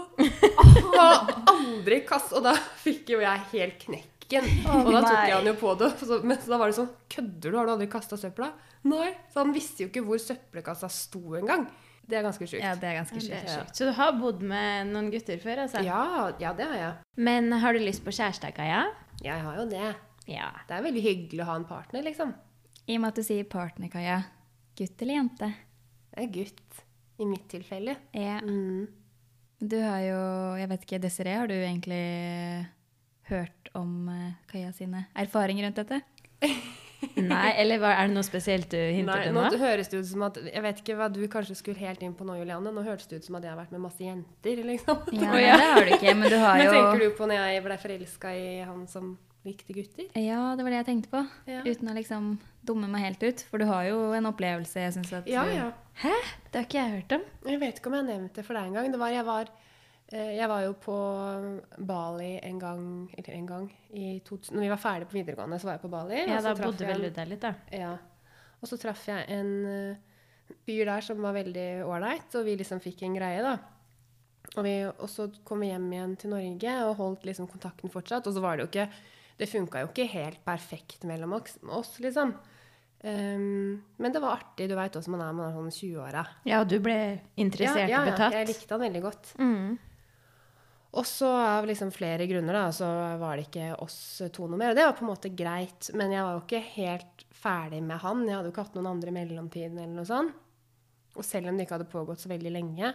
[SPEAKER 3] Og aldri kass, og da fikk jo jeg helt knekken.
[SPEAKER 1] Å,
[SPEAKER 3] og da tok
[SPEAKER 1] nei.
[SPEAKER 3] jeg han jo på det, så, men så da var det sånn, kødder du, har du aldri kastet søpla? Nei, så han visste jo ikke hvor søppelkassa sto en gang. Det er ganske sjukt.
[SPEAKER 2] Ja, det er ganske
[SPEAKER 1] Det er
[SPEAKER 2] sjukt.
[SPEAKER 1] sjukt. Så du har bodd med noen gutter før, altså?
[SPEAKER 3] Ja, ja, det har jeg.
[SPEAKER 1] Men har du lyst på kjæreste, Kaja?
[SPEAKER 3] Jeg har jo det.
[SPEAKER 1] Ja.
[SPEAKER 3] Det er veldig hyggelig å ha en partner, liksom.
[SPEAKER 2] I og med at du sier partner, Kaja. Gutt eller jente?
[SPEAKER 3] Det er gutt. I mitt tilfelle.
[SPEAKER 2] Ja.
[SPEAKER 3] Mm.
[SPEAKER 2] Du har jo, jeg vet ikke, Desiree, har du egentlig hørt om eh, Kaja sine erfaringer rundt dette?
[SPEAKER 1] Nei, eller hva, er det noe spesielt du hinter
[SPEAKER 3] Nei,
[SPEAKER 1] til
[SPEAKER 3] nå
[SPEAKER 1] nå?
[SPEAKER 3] høres det ut som at Jeg vet ikke hva du kanskje skulle helt inn på nå, Juliane. Nå hørtes det ut som at jeg har vært med masse jenter, liksom.
[SPEAKER 2] Ja,
[SPEAKER 1] Å,
[SPEAKER 2] nei,
[SPEAKER 1] ja.
[SPEAKER 2] det har du ikke, men du har
[SPEAKER 3] Hva
[SPEAKER 2] jo
[SPEAKER 3] tenker du på når jeg ble forelska i han som likte gutter?
[SPEAKER 2] Ja, det var det jeg tenkte på.
[SPEAKER 3] Ja.
[SPEAKER 2] Uten å liksom dumme meg helt ut. For du har jo en opplevelse jeg syns at
[SPEAKER 3] Ja,
[SPEAKER 2] du-
[SPEAKER 3] ja.
[SPEAKER 1] Hæ? Det har ikke jeg hørt om.
[SPEAKER 3] Jeg vet ikke om jeg har nevnt det for deg engang. Det var, jeg, var, eh, jeg var jo på Bali en gang, eller en gang i 2000, Når vi var ferdig på videregående, så var jeg på Bali.
[SPEAKER 1] Ja,
[SPEAKER 3] og så
[SPEAKER 1] da
[SPEAKER 3] traff
[SPEAKER 1] bodde
[SPEAKER 3] jeg en-
[SPEAKER 1] vel du der litt, da.
[SPEAKER 3] Ja. Og så traff jeg en eh, fyr der som var veldig ålreit, og vi liksom fikk en greie, da. Og, vi, og så kom vi hjem igjen til Norge og holdt liksom kontakten fortsatt. Og så var det jo ikke Det funka jo ikke helt perfekt mellom oss, oss liksom. Ehm, men det var artig. Du veit åssen man er, man er sånn 20-åra.
[SPEAKER 1] Ja, og du ble interessert og betatt.
[SPEAKER 3] jeg likte han veldig godt.
[SPEAKER 1] Mm.
[SPEAKER 3] Og så av liksom flere grunner da, så var det ikke oss to noe mer. Og det var på en måte greit, men jeg var jo ikke helt ferdig med han. Jeg hadde jo ikke hatt noen andre i mellomtiden eller noe sånt. Og selv om det ikke hadde pågått så veldig lenge.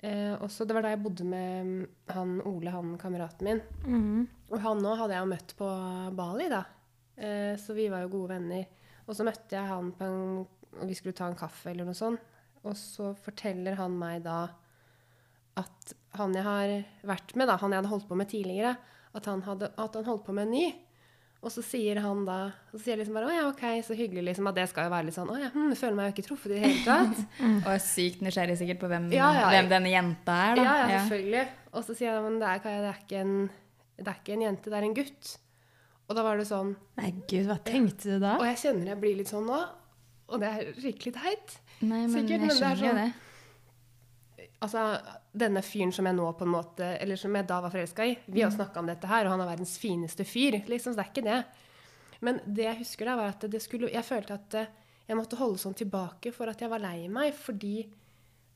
[SPEAKER 3] Eh, og så det var da jeg bodde med han Ole, han kameraten min.
[SPEAKER 1] Mm.
[SPEAKER 3] Og han nå hadde jeg jo møtt på Bali, da. Eh, så vi var jo gode venner. Og så møtte jeg han på en Og vi skulle ta en kaffe eller noe sånt. Og så forteller han meg da at han jeg har vært med, da, han jeg hadde holdt på med tidligere, at han, hadde, at han holdt på med en ny. Og så sier han da og så sier jeg liksom bare, Å ja, OK, så hyggelig, liksom. At det skal jo være litt sånn Å ja, hm, føler meg jo ikke truffet i det hele tatt.
[SPEAKER 1] Mm.
[SPEAKER 2] Og er sykt nysgjerrig sikkert på hvem,
[SPEAKER 3] Ja, ja.
[SPEAKER 2] hvem denne jenta er, da.
[SPEAKER 3] Ja, ja, selvfølgelig. Og så sier jeg men det er, Kaja, det, er ikke en, det er ikke en jente, det er en gutt. Og da var det sånn
[SPEAKER 1] Nei, gud, hva tenkte du da?
[SPEAKER 3] Og jeg kjenner jeg blir litt sånn nå, og det er skikkelig teit.
[SPEAKER 2] Nei, men
[SPEAKER 3] Sikkert,
[SPEAKER 2] jeg
[SPEAKER 3] men det er
[SPEAKER 2] skjønner jo
[SPEAKER 3] sånn-
[SPEAKER 2] det.
[SPEAKER 3] Altså, Denne fyren som jeg nå på en måte, eller som jeg da var forelska i Vi
[SPEAKER 2] Mm.
[SPEAKER 3] har snakka om dette her, og han er verdens fineste fyr. liksom, så det er ikke det. Men det jeg husker da, var at det skulle, jeg følte at eh, jeg måtte holde sånn tilbake for at jeg var lei meg fordi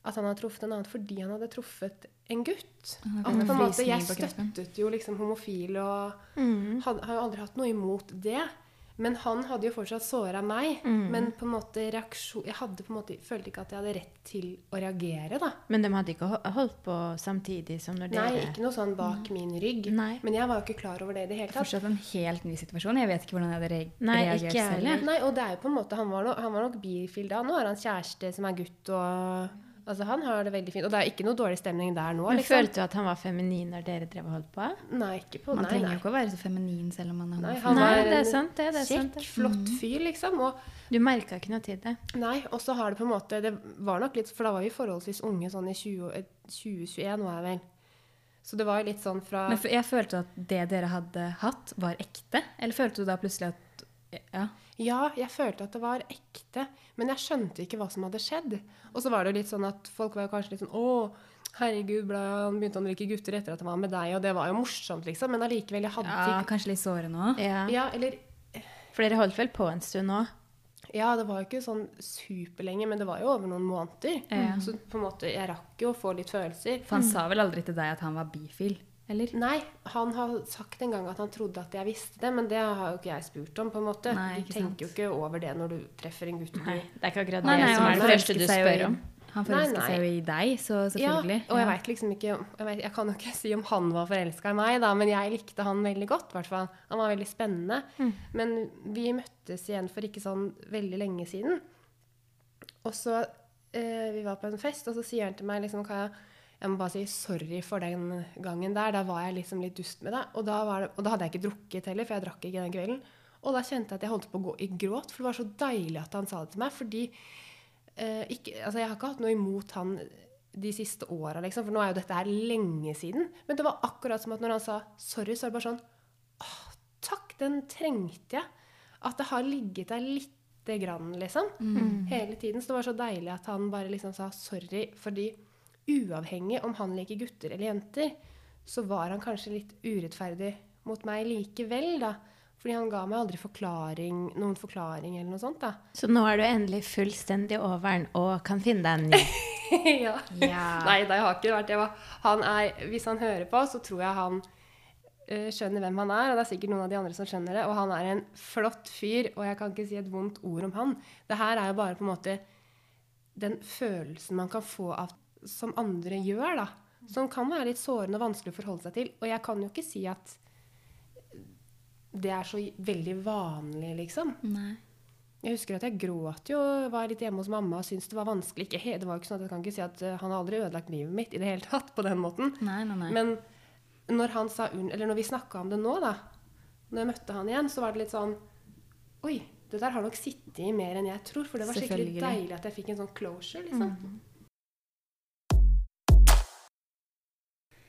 [SPEAKER 3] at han hadde truffet en annen fordi han hadde truffet en gutt.
[SPEAKER 2] Han
[SPEAKER 3] At
[SPEAKER 2] har fått
[SPEAKER 3] på
[SPEAKER 2] en
[SPEAKER 3] en måte,
[SPEAKER 2] frysning
[SPEAKER 3] Jeg
[SPEAKER 2] på kroppen.
[SPEAKER 3] støttet jo liksom homofile og
[SPEAKER 1] Mm.
[SPEAKER 3] Had, har jo aldri hatt noe imot det. Men han hadde jo fortsatt såra meg.
[SPEAKER 2] Mm.
[SPEAKER 3] Men på en måte reaksjon Jeg hadde på en måte, følte ikke at jeg hadde rett til å reagere, da.
[SPEAKER 1] Men de hadde ikke ho- holdt på samtidig som når dere
[SPEAKER 3] Nei, ikke noe sånn bak min rygg.
[SPEAKER 1] Mhm. Nei.
[SPEAKER 3] Men jeg var jo ikke klar over det i det hele tatt.
[SPEAKER 2] Fortsatt en helt ny situasjon. Jeg vet ikke hvordan jeg hadde re-
[SPEAKER 1] Nei, ikke jeg
[SPEAKER 2] reagert selv.
[SPEAKER 1] heller.
[SPEAKER 3] Nei, og det er jo på en måte Han var, no, han var nok bifil da. Nå har han kjæreste som er gutt, og Altså, han har det veldig fint. Og det er ikke noe dårlig stemning der nå,
[SPEAKER 1] Men
[SPEAKER 3] liksom.
[SPEAKER 1] Følte du at han var feminin når dere drev og holdt på?
[SPEAKER 3] Nei, ikke på
[SPEAKER 2] Man
[SPEAKER 3] Nei,
[SPEAKER 2] trenger
[SPEAKER 3] nei.
[SPEAKER 2] jo ikke å være så feminin selv om man er
[SPEAKER 3] Nei,
[SPEAKER 2] homofil.
[SPEAKER 3] Han
[SPEAKER 1] Nei,
[SPEAKER 3] var
[SPEAKER 1] det er
[SPEAKER 3] en
[SPEAKER 1] sant. det, det er sant.
[SPEAKER 3] Kjekk,
[SPEAKER 1] det. Mhm.
[SPEAKER 3] flott fyr, liksom. Og
[SPEAKER 1] Du merka ikke noe til det?
[SPEAKER 3] Nei, og så har det på en måte Det var nok litt For da var vi forholdsvis unge, sånn i 20 eh, 2021 var jeg vel. Så det var jo litt sånn fra
[SPEAKER 2] Men f- jeg følte at det dere hadde hatt, var ekte. Eller følte du da plutselig at Ja.
[SPEAKER 3] Ja, jeg følte at det var ekte, men jeg skjønte ikke hva som hadde skjedd. Og så var det jo litt sånn at folk var jo kanskje litt sånn Å, herregud, ble han begynte han å drikke gutter etter at han var med deg, og det var jo morsomt, liksom, men allikevel, jeg hadde
[SPEAKER 2] ja kanskje litt sårende òg?
[SPEAKER 1] Ja.
[SPEAKER 3] ikke Ja, eller
[SPEAKER 1] For dere holdt vel på en stund nå?
[SPEAKER 3] Ja, det var jo ikke sånn superlenge, men det var jo over noen måneder.
[SPEAKER 2] Ja.
[SPEAKER 3] Så på en måte, jeg rakk jo å få litt følelser.
[SPEAKER 1] Mm.
[SPEAKER 2] For han sa vel aldri til deg at han var bifil? Eller?
[SPEAKER 3] Nei, han har sagt en gang at han trodde at jeg visste det, men det har jo ikke jeg spurt om. på en måte.
[SPEAKER 2] Nei,
[SPEAKER 3] du
[SPEAKER 2] ikke sant.
[SPEAKER 3] tenker jo ikke over det når du treffer en gutt.
[SPEAKER 1] Nei, det er ikke akkurat
[SPEAKER 2] Nei,
[SPEAKER 1] det
[SPEAKER 2] nei,
[SPEAKER 1] som
[SPEAKER 2] han
[SPEAKER 1] er det første du
[SPEAKER 2] forelsket seg jo
[SPEAKER 1] spør
[SPEAKER 2] i-
[SPEAKER 1] om.
[SPEAKER 2] Han
[SPEAKER 3] Nei,
[SPEAKER 2] forelsket
[SPEAKER 3] nei.
[SPEAKER 2] seg jo i deg, så
[SPEAKER 3] Ja,
[SPEAKER 2] selvfølgelig.
[SPEAKER 3] og jeg vet liksom ikke om- jeg, vet, jeg kan jo ikke si om han var forelska i meg, da, men jeg likte han veldig godt. Hvertfall. Han var veldig spennende. Men vi møttes igjen for ikke sånn veldig lenge siden. Og så eh, Vi var på en fest, og så sier han til meg liksom, Kaja, jeg må bare si sorry for den gangen der. Da var jeg liksom litt dust med deg. Og da, var det, og da hadde jeg ikke drukket heller, for jeg drakk ikke den kvelden. Og da kjente jeg at jeg holdt på å gå i gråt, for det var så deilig at han sa det til meg. fordi Eh, ikke, altså jeg har ikke hatt noe imot han de siste åra, liksom, for nå er jo dette her lenge siden. Men det var akkurat som at når han sa sorry, så er det bare sånn Åh, takk, den trengte jeg. At det har ligget der lite grann, liksom. Hele tiden. Så det var så deilig at han bare liksom sa sorry, fordi uavhengig om han liker gutter eller jenter, så var han kanskje litt urettferdig mot meg likevel, da. Fordi han ga meg aldri forklaring, noen forklaring eller noe sånt, da.
[SPEAKER 1] Så nå er du endelig fullstendig over den og kan finne deg en ny.
[SPEAKER 3] ja.
[SPEAKER 2] Ja.
[SPEAKER 3] Nei, det har ikke vært det. var- Han er, hvis han hører på, så tror jeg han eh, skjønner hvem han er. Og det er sikkert noen av de andre som skjønner det. Og han er en flott fyr, og jeg kan ikke si et vondt ord om han. Det her er jo bare på en måte den følelsen man kan få av som andre gjør, da. Som kan være litt sårende og vanskelig å forholde seg til. Og jeg kan jo ikke si at det er så veldig vanlig, liksom.
[SPEAKER 2] Nei.
[SPEAKER 3] Jeg husker at jeg gråt jo, var litt hjemme hos mamma og syntes det var vanskelig. Ikke, he- det var jo ikke sånn at jeg kan ikke si at eh, han har aldri ødelagt livet mitt i det hele tatt på den måten.
[SPEAKER 2] Nei, nei, nei.
[SPEAKER 3] Men når, han sa, unn- eller når vi snakka om det nå, da, når jeg møtte han igjen, så var det litt sånn Oi, det der har nok sittet i mer enn jeg tror. For det var skikkelig
[SPEAKER 2] Selvfølgelig. Mhm.
[SPEAKER 3] deilig at jeg fikk en sånn closure, liksom.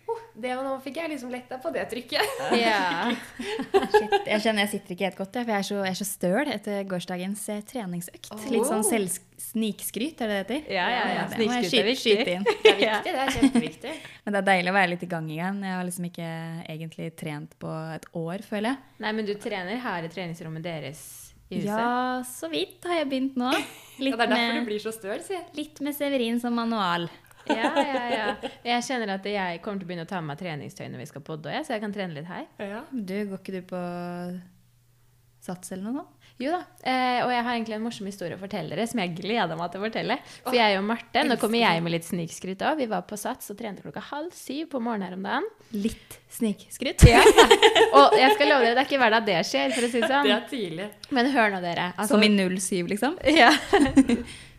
[SPEAKER 3] Oh, det var, nå fikk jeg liksom letta på det trykket.
[SPEAKER 2] Shit, jeg kjenner jeg sitter ikke helt godt, jeg, for jeg er så, jeg er så støl etter gårsdagens eh, treningsøkt. Litt sånn selv snikskryt, er det det heter?
[SPEAKER 1] Ja, ja, ja.
[SPEAKER 2] Det må jeg
[SPEAKER 1] Snikskryt er viktig.
[SPEAKER 2] skyte, skyte inn.
[SPEAKER 3] Det er viktig, det er kjempeviktig.
[SPEAKER 2] Men det er deilig å være litt i gang igjen. Jeg har liksom ikke egentlig trent på et år, føler jeg.
[SPEAKER 1] Nei, men du trener her i treningsrommet deres i huset?
[SPEAKER 2] Ja, så vidt har jeg begynt nå.
[SPEAKER 3] Ja,
[SPEAKER 2] Litt,
[SPEAKER 3] det er derfor du
[SPEAKER 2] med,
[SPEAKER 3] blir så støl, sier jeg.
[SPEAKER 2] litt med Severin som manual.
[SPEAKER 1] ja, ja, ja. Jeg kjenner at jeg kommer til å begynne å ta med meg treningstøy når vi skal podde, jeg, så jeg kan trene litt her.
[SPEAKER 3] Ja.
[SPEAKER 2] Du, går ikke du på sats eller noe sånt?
[SPEAKER 1] Jo da, eh, og jeg har egentlig en morsom historie å fortelle dere, som jeg gleder meg til å fortelle. For jeg og Marte, nå kommer jeg med litt snikskryt òg. Vi var på Sats og trente klokka halv syv på morgenen her om dagen.
[SPEAKER 2] Litt snikskryt.
[SPEAKER 1] Ja. Og jeg skal love dere, det er ikke hver dag det skjer, for å si det sånn.
[SPEAKER 3] Det er tidlig.
[SPEAKER 1] Men hør nå, dere. altså-
[SPEAKER 2] Som i 07, liksom?
[SPEAKER 1] Ja.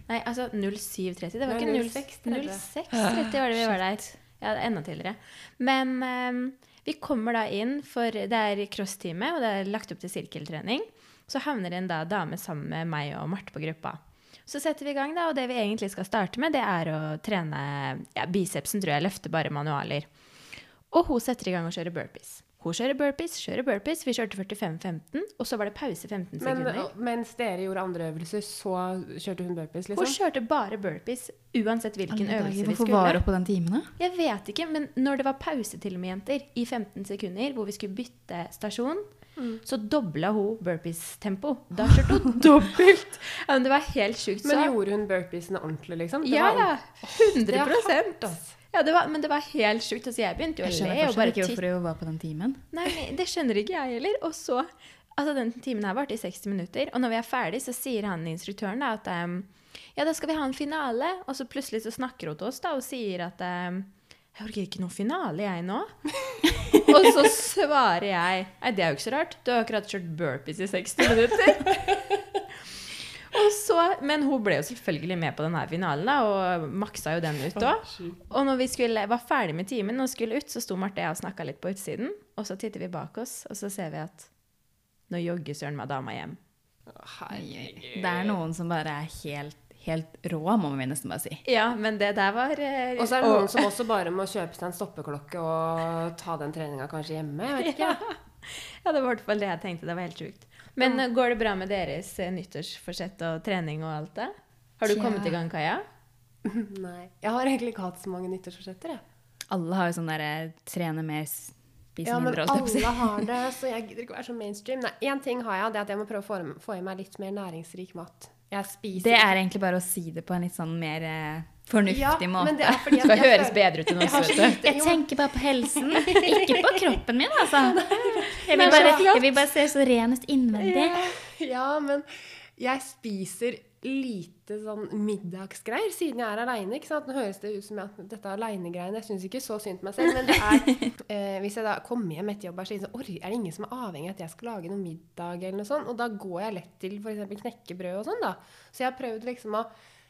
[SPEAKER 1] Nei, altså 07.30. Det var
[SPEAKER 3] Nei,
[SPEAKER 1] ikke
[SPEAKER 3] 06.30.
[SPEAKER 1] 06.30 var det vi var der. Ja, det er enda tidligere. Men ehm, vi kommer da inn, for det er crosstime, og det er lagt opp til sirkeltrening. Så havner en da dame sammen med meg og Marte på gruppa. Så setter vi i gang, da, og det vi egentlig skal starte med, det er å trene ja, bicepsen, tror jeg. Løfter bare manualer. Og hun setter i gang og kjører burpees. Hun kjører burpees, kjører burpees. Vi kjørte 45-15, og så var det pause 15
[SPEAKER 3] Men
[SPEAKER 1] sekunder.
[SPEAKER 3] og- mens dere gjorde andre øvelser, så kjørte hun burpees,
[SPEAKER 1] Hun
[SPEAKER 3] liksom?
[SPEAKER 1] kjørte bare burpees, uansett hvilken
[SPEAKER 2] Alle dager,
[SPEAKER 1] øvelse vi
[SPEAKER 2] Hvorfor
[SPEAKER 1] skulle.
[SPEAKER 2] var hun på den timen, da?
[SPEAKER 1] Jeg vet ikke, men når det var pause til og med jenter, i 15 sekunder, hvor vi skulle bytte stasjon,
[SPEAKER 3] Mm.
[SPEAKER 1] så dobla hun burpees-tempo. Da kjørte hun dobbelt! Ja, men det var helt sjukt. Så,
[SPEAKER 3] Men gjorde hun burpeesene ordentlig, liksom? Det
[SPEAKER 1] ja,
[SPEAKER 3] var-
[SPEAKER 1] ja.
[SPEAKER 3] Det er
[SPEAKER 1] 100
[SPEAKER 3] hardt, ass.
[SPEAKER 1] ja, det var, Men det var helt sjukt. Altså, jeg begynte jo
[SPEAKER 2] Jeg
[SPEAKER 1] å
[SPEAKER 2] skjønner
[SPEAKER 1] le. og
[SPEAKER 2] fortsatt
[SPEAKER 1] bare
[SPEAKER 2] ikke
[SPEAKER 1] titte.
[SPEAKER 2] hvorfor hun var på den timen.
[SPEAKER 1] Nei, men Det skjønner ikke jeg heller. Og så, altså Den timen her varte i 60 minutter. Og når vi er ferdig, så sier han instruktøren da, at um, ja, da skal vi ha en finale. Og så plutselig så snakker hun til oss da, og sier at um, jeg orker ikke noen finale, jeg nå. og så svarer jeg Nei, det er jo ikke så rart. Du har akkurat kjørt burpees i 60 minutter. og så, men hun ble jo selvfølgelig med på denne finalen, da, og maksa jo den ut òg. Og når vi skulle, var ferdig med timen og skulle ut, så sto Marte og jeg og snakka litt på utsiden. Og så titter vi bak oss, og så ser vi at nå jogger søren meg dama hjem.
[SPEAKER 2] Det er noen som bare er helt, helt rå, må vi nesten bare si.
[SPEAKER 1] Ja, men det der var eh,
[SPEAKER 3] Og så er det noen som også bare må kjøpe seg en stoppeklokke og ta den treninga kanskje hjemme. Jeg vet ikke.
[SPEAKER 1] Ja, det var i hvert fall det jeg tenkte. Det var helt sjukt. Men eh, går det bra med deres eh, nyttårsforsett og trening og alt det? Har du
[SPEAKER 2] Tja.
[SPEAKER 1] kommet i gang, Kaja?
[SPEAKER 3] Nei. Jeg har egentlig ikke hatt så mange nyttårsforsetter, jeg.
[SPEAKER 2] Alle har jo sånn derre trene mer, spise
[SPEAKER 3] Ja, men
[SPEAKER 2] mindre, holdt jeg på å si.
[SPEAKER 3] alle har det, så jeg gidder ikke være så mainstream. Nei, én ting har jeg, og det er at jeg må prøve å få, få i meg litt mer næringsrik mat. Jeg spiser
[SPEAKER 2] Det er egentlig bare å si det på en litt sånn mer eh, fornuftig
[SPEAKER 3] Ja, men
[SPEAKER 2] måte.
[SPEAKER 3] det er fordi at
[SPEAKER 2] skal
[SPEAKER 3] jeg
[SPEAKER 2] høres
[SPEAKER 3] føler-
[SPEAKER 2] bedre ut enn
[SPEAKER 3] Jeg
[SPEAKER 2] oss,
[SPEAKER 3] har så
[SPEAKER 2] vet du.
[SPEAKER 3] lite-
[SPEAKER 2] Jeg
[SPEAKER 3] jo.
[SPEAKER 2] tenker bare på helsen, ikke på kroppen min, altså. Jeg
[SPEAKER 1] Men
[SPEAKER 2] vil bare,
[SPEAKER 1] så flott.
[SPEAKER 2] jeg vil bare se så renest innvendig.
[SPEAKER 3] Ja, men jeg spiser lite sånn middagsgreier siden jeg er aleine. Nå høres det ut som at dette aleinegreiene Jeg syns ikke så synd på meg selv, men det er eh, Hvis jeg da kommer hjem etter jobb, er det sånn Oi, er det ingen som er avhengig av at jeg skal lage noe middag, eller noe sånt? Og da går jeg lett til f.eks. knekkebrød og sånn, da. Så jeg har prøvd liksom å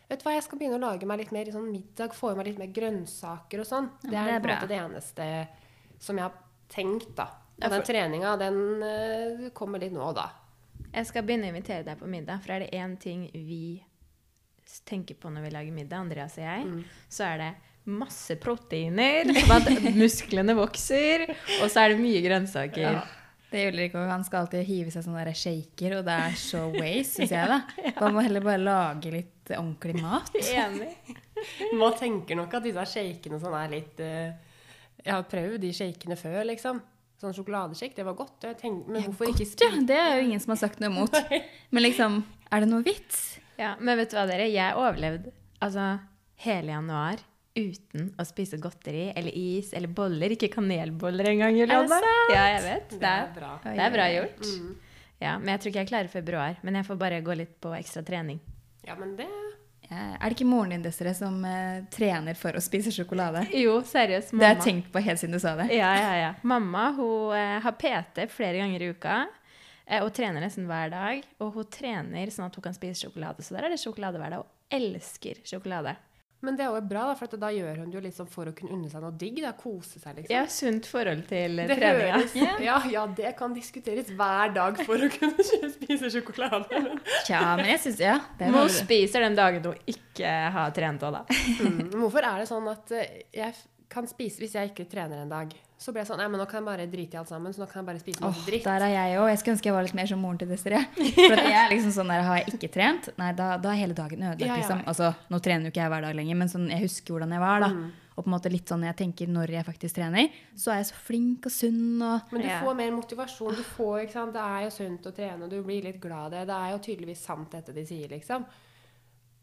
[SPEAKER 3] Vet du hva, jeg skal begynne å lage meg litt mer sånn middag, få i meg litt mer grønsaker og sånn.
[SPEAKER 2] Ja,
[SPEAKER 3] det er,
[SPEAKER 2] det er
[SPEAKER 3] på en
[SPEAKER 2] bra.
[SPEAKER 3] måte det eneste som jeg har tenkt, da.
[SPEAKER 1] Ja,
[SPEAKER 3] Og den treninga, den eh, kommer litt nå og da.
[SPEAKER 1] Jeg skal begynne å invitere deg på middag, for er det én ting vi s- tenker på når vi lager middag, Andreas og jeg, så er det masse proteiner, sånn at musklene vokser, og så er det mye grønnsaker.
[SPEAKER 2] Ja. Det gjør ikke, og Han skal alltid hive seg sånne der shaker, og det er så waste, syns jeg. da. Man må heller bare lage litt ordentlig mat.
[SPEAKER 1] Enig.
[SPEAKER 3] Man tenker nok at disse shakene sånn er litt eh, Jeg har prøvd de shakene før, liksom. Sånn sjokoladeshake, det var godt. og Jeg tenker, men hvorfor ikke
[SPEAKER 2] Godt, ja. Det er jo ingen som har sagt noe imot. Men liksom, er det noe vits?
[SPEAKER 1] Ja, men vet du hva, dere? Jeg overlevde altså, hele januar uten å spise godteri eller is eller boller. Ikke kanelboller engang. Er
[SPEAKER 2] det sant?
[SPEAKER 1] Ja, jeg vet. Det er,
[SPEAKER 3] bra.
[SPEAKER 1] det er bra gjort. Ja, men jeg tror ikke jeg klarer februar. Men jeg får bare gå litt på ekstra trening.
[SPEAKER 3] Ja, men det
[SPEAKER 2] Ja, Er det ikke moren din Desiree, som eh, trener for å spise sjokolade?
[SPEAKER 1] Jo, seriøst,
[SPEAKER 2] Det har
[SPEAKER 1] mamma.
[SPEAKER 2] jeg tenkt på helt siden du sa det.
[SPEAKER 1] Ja, ja, ja. Mamma hun eh, har PT flere ganger i uka. eh, Og trener nesten hver dag. Og hun trener sånn at hun kan spise sjokolade. Så der er det sjokolade hver dag. Hun elsker sjokolade.
[SPEAKER 3] Men det er jo bra, da, for at da gjør hun det jo litt sånn for å kunne unne seg noe digg. da, Kose seg, liksom.
[SPEAKER 1] Jeg har sunt forhold til eh,
[SPEAKER 3] det
[SPEAKER 1] treninga.
[SPEAKER 3] høres- ja, ja, det kan diskuteres hver dag for å kunne spise sjokolade. men-
[SPEAKER 2] Tja, men jeg syns Ja. Det er
[SPEAKER 1] Mo
[SPEAKER 2] veldig-
[SPEAKER 1] spiser den dagen hun ikke har trent òg, da.
[SPEAKER 3] Mm. Men Hvorfor er det sånn at eh, jeg f- kan spise hvis jeg ikke trener en dag? Så blir jeg sånn Nei, men nå kan jeg bare drite i alt sammen, så nå kan jeg bare spise masse
[SPEAKER 2] Åh,
[SPEAKER 3] dritt.
[SPEAKER 2] der er jeg òg. Jeg skulle ønske jeg var litt mer som moren til Desiree. For at jeg er liksom sånn der, Har jeg ikke trent, nei, da, da er hele dagen ødelagt.
[SPEAKER 3] Ja, ja.
[SPEAKER 2] Liksom. Altså, nå trener jo ikke jeg hver dag lenger, men sånn, jeg husker hvordan jeg var. da.
[SPEAKER 1] Mm.
[SPEAKER 2] Og på en måte litt sånn jeg tenker når jeg faktisk trener, så er jeg så flink og sunn. og...
[SPEAKER 3] Men du
[SPEAKER 1] Ja.
[SPEAKER 3] får mer motivasjon. Du får, ikke sant? Det er jo sunt å trene, og du blir litt glad av det. Det er jo tydeligvis sant, dette de sier, liksom.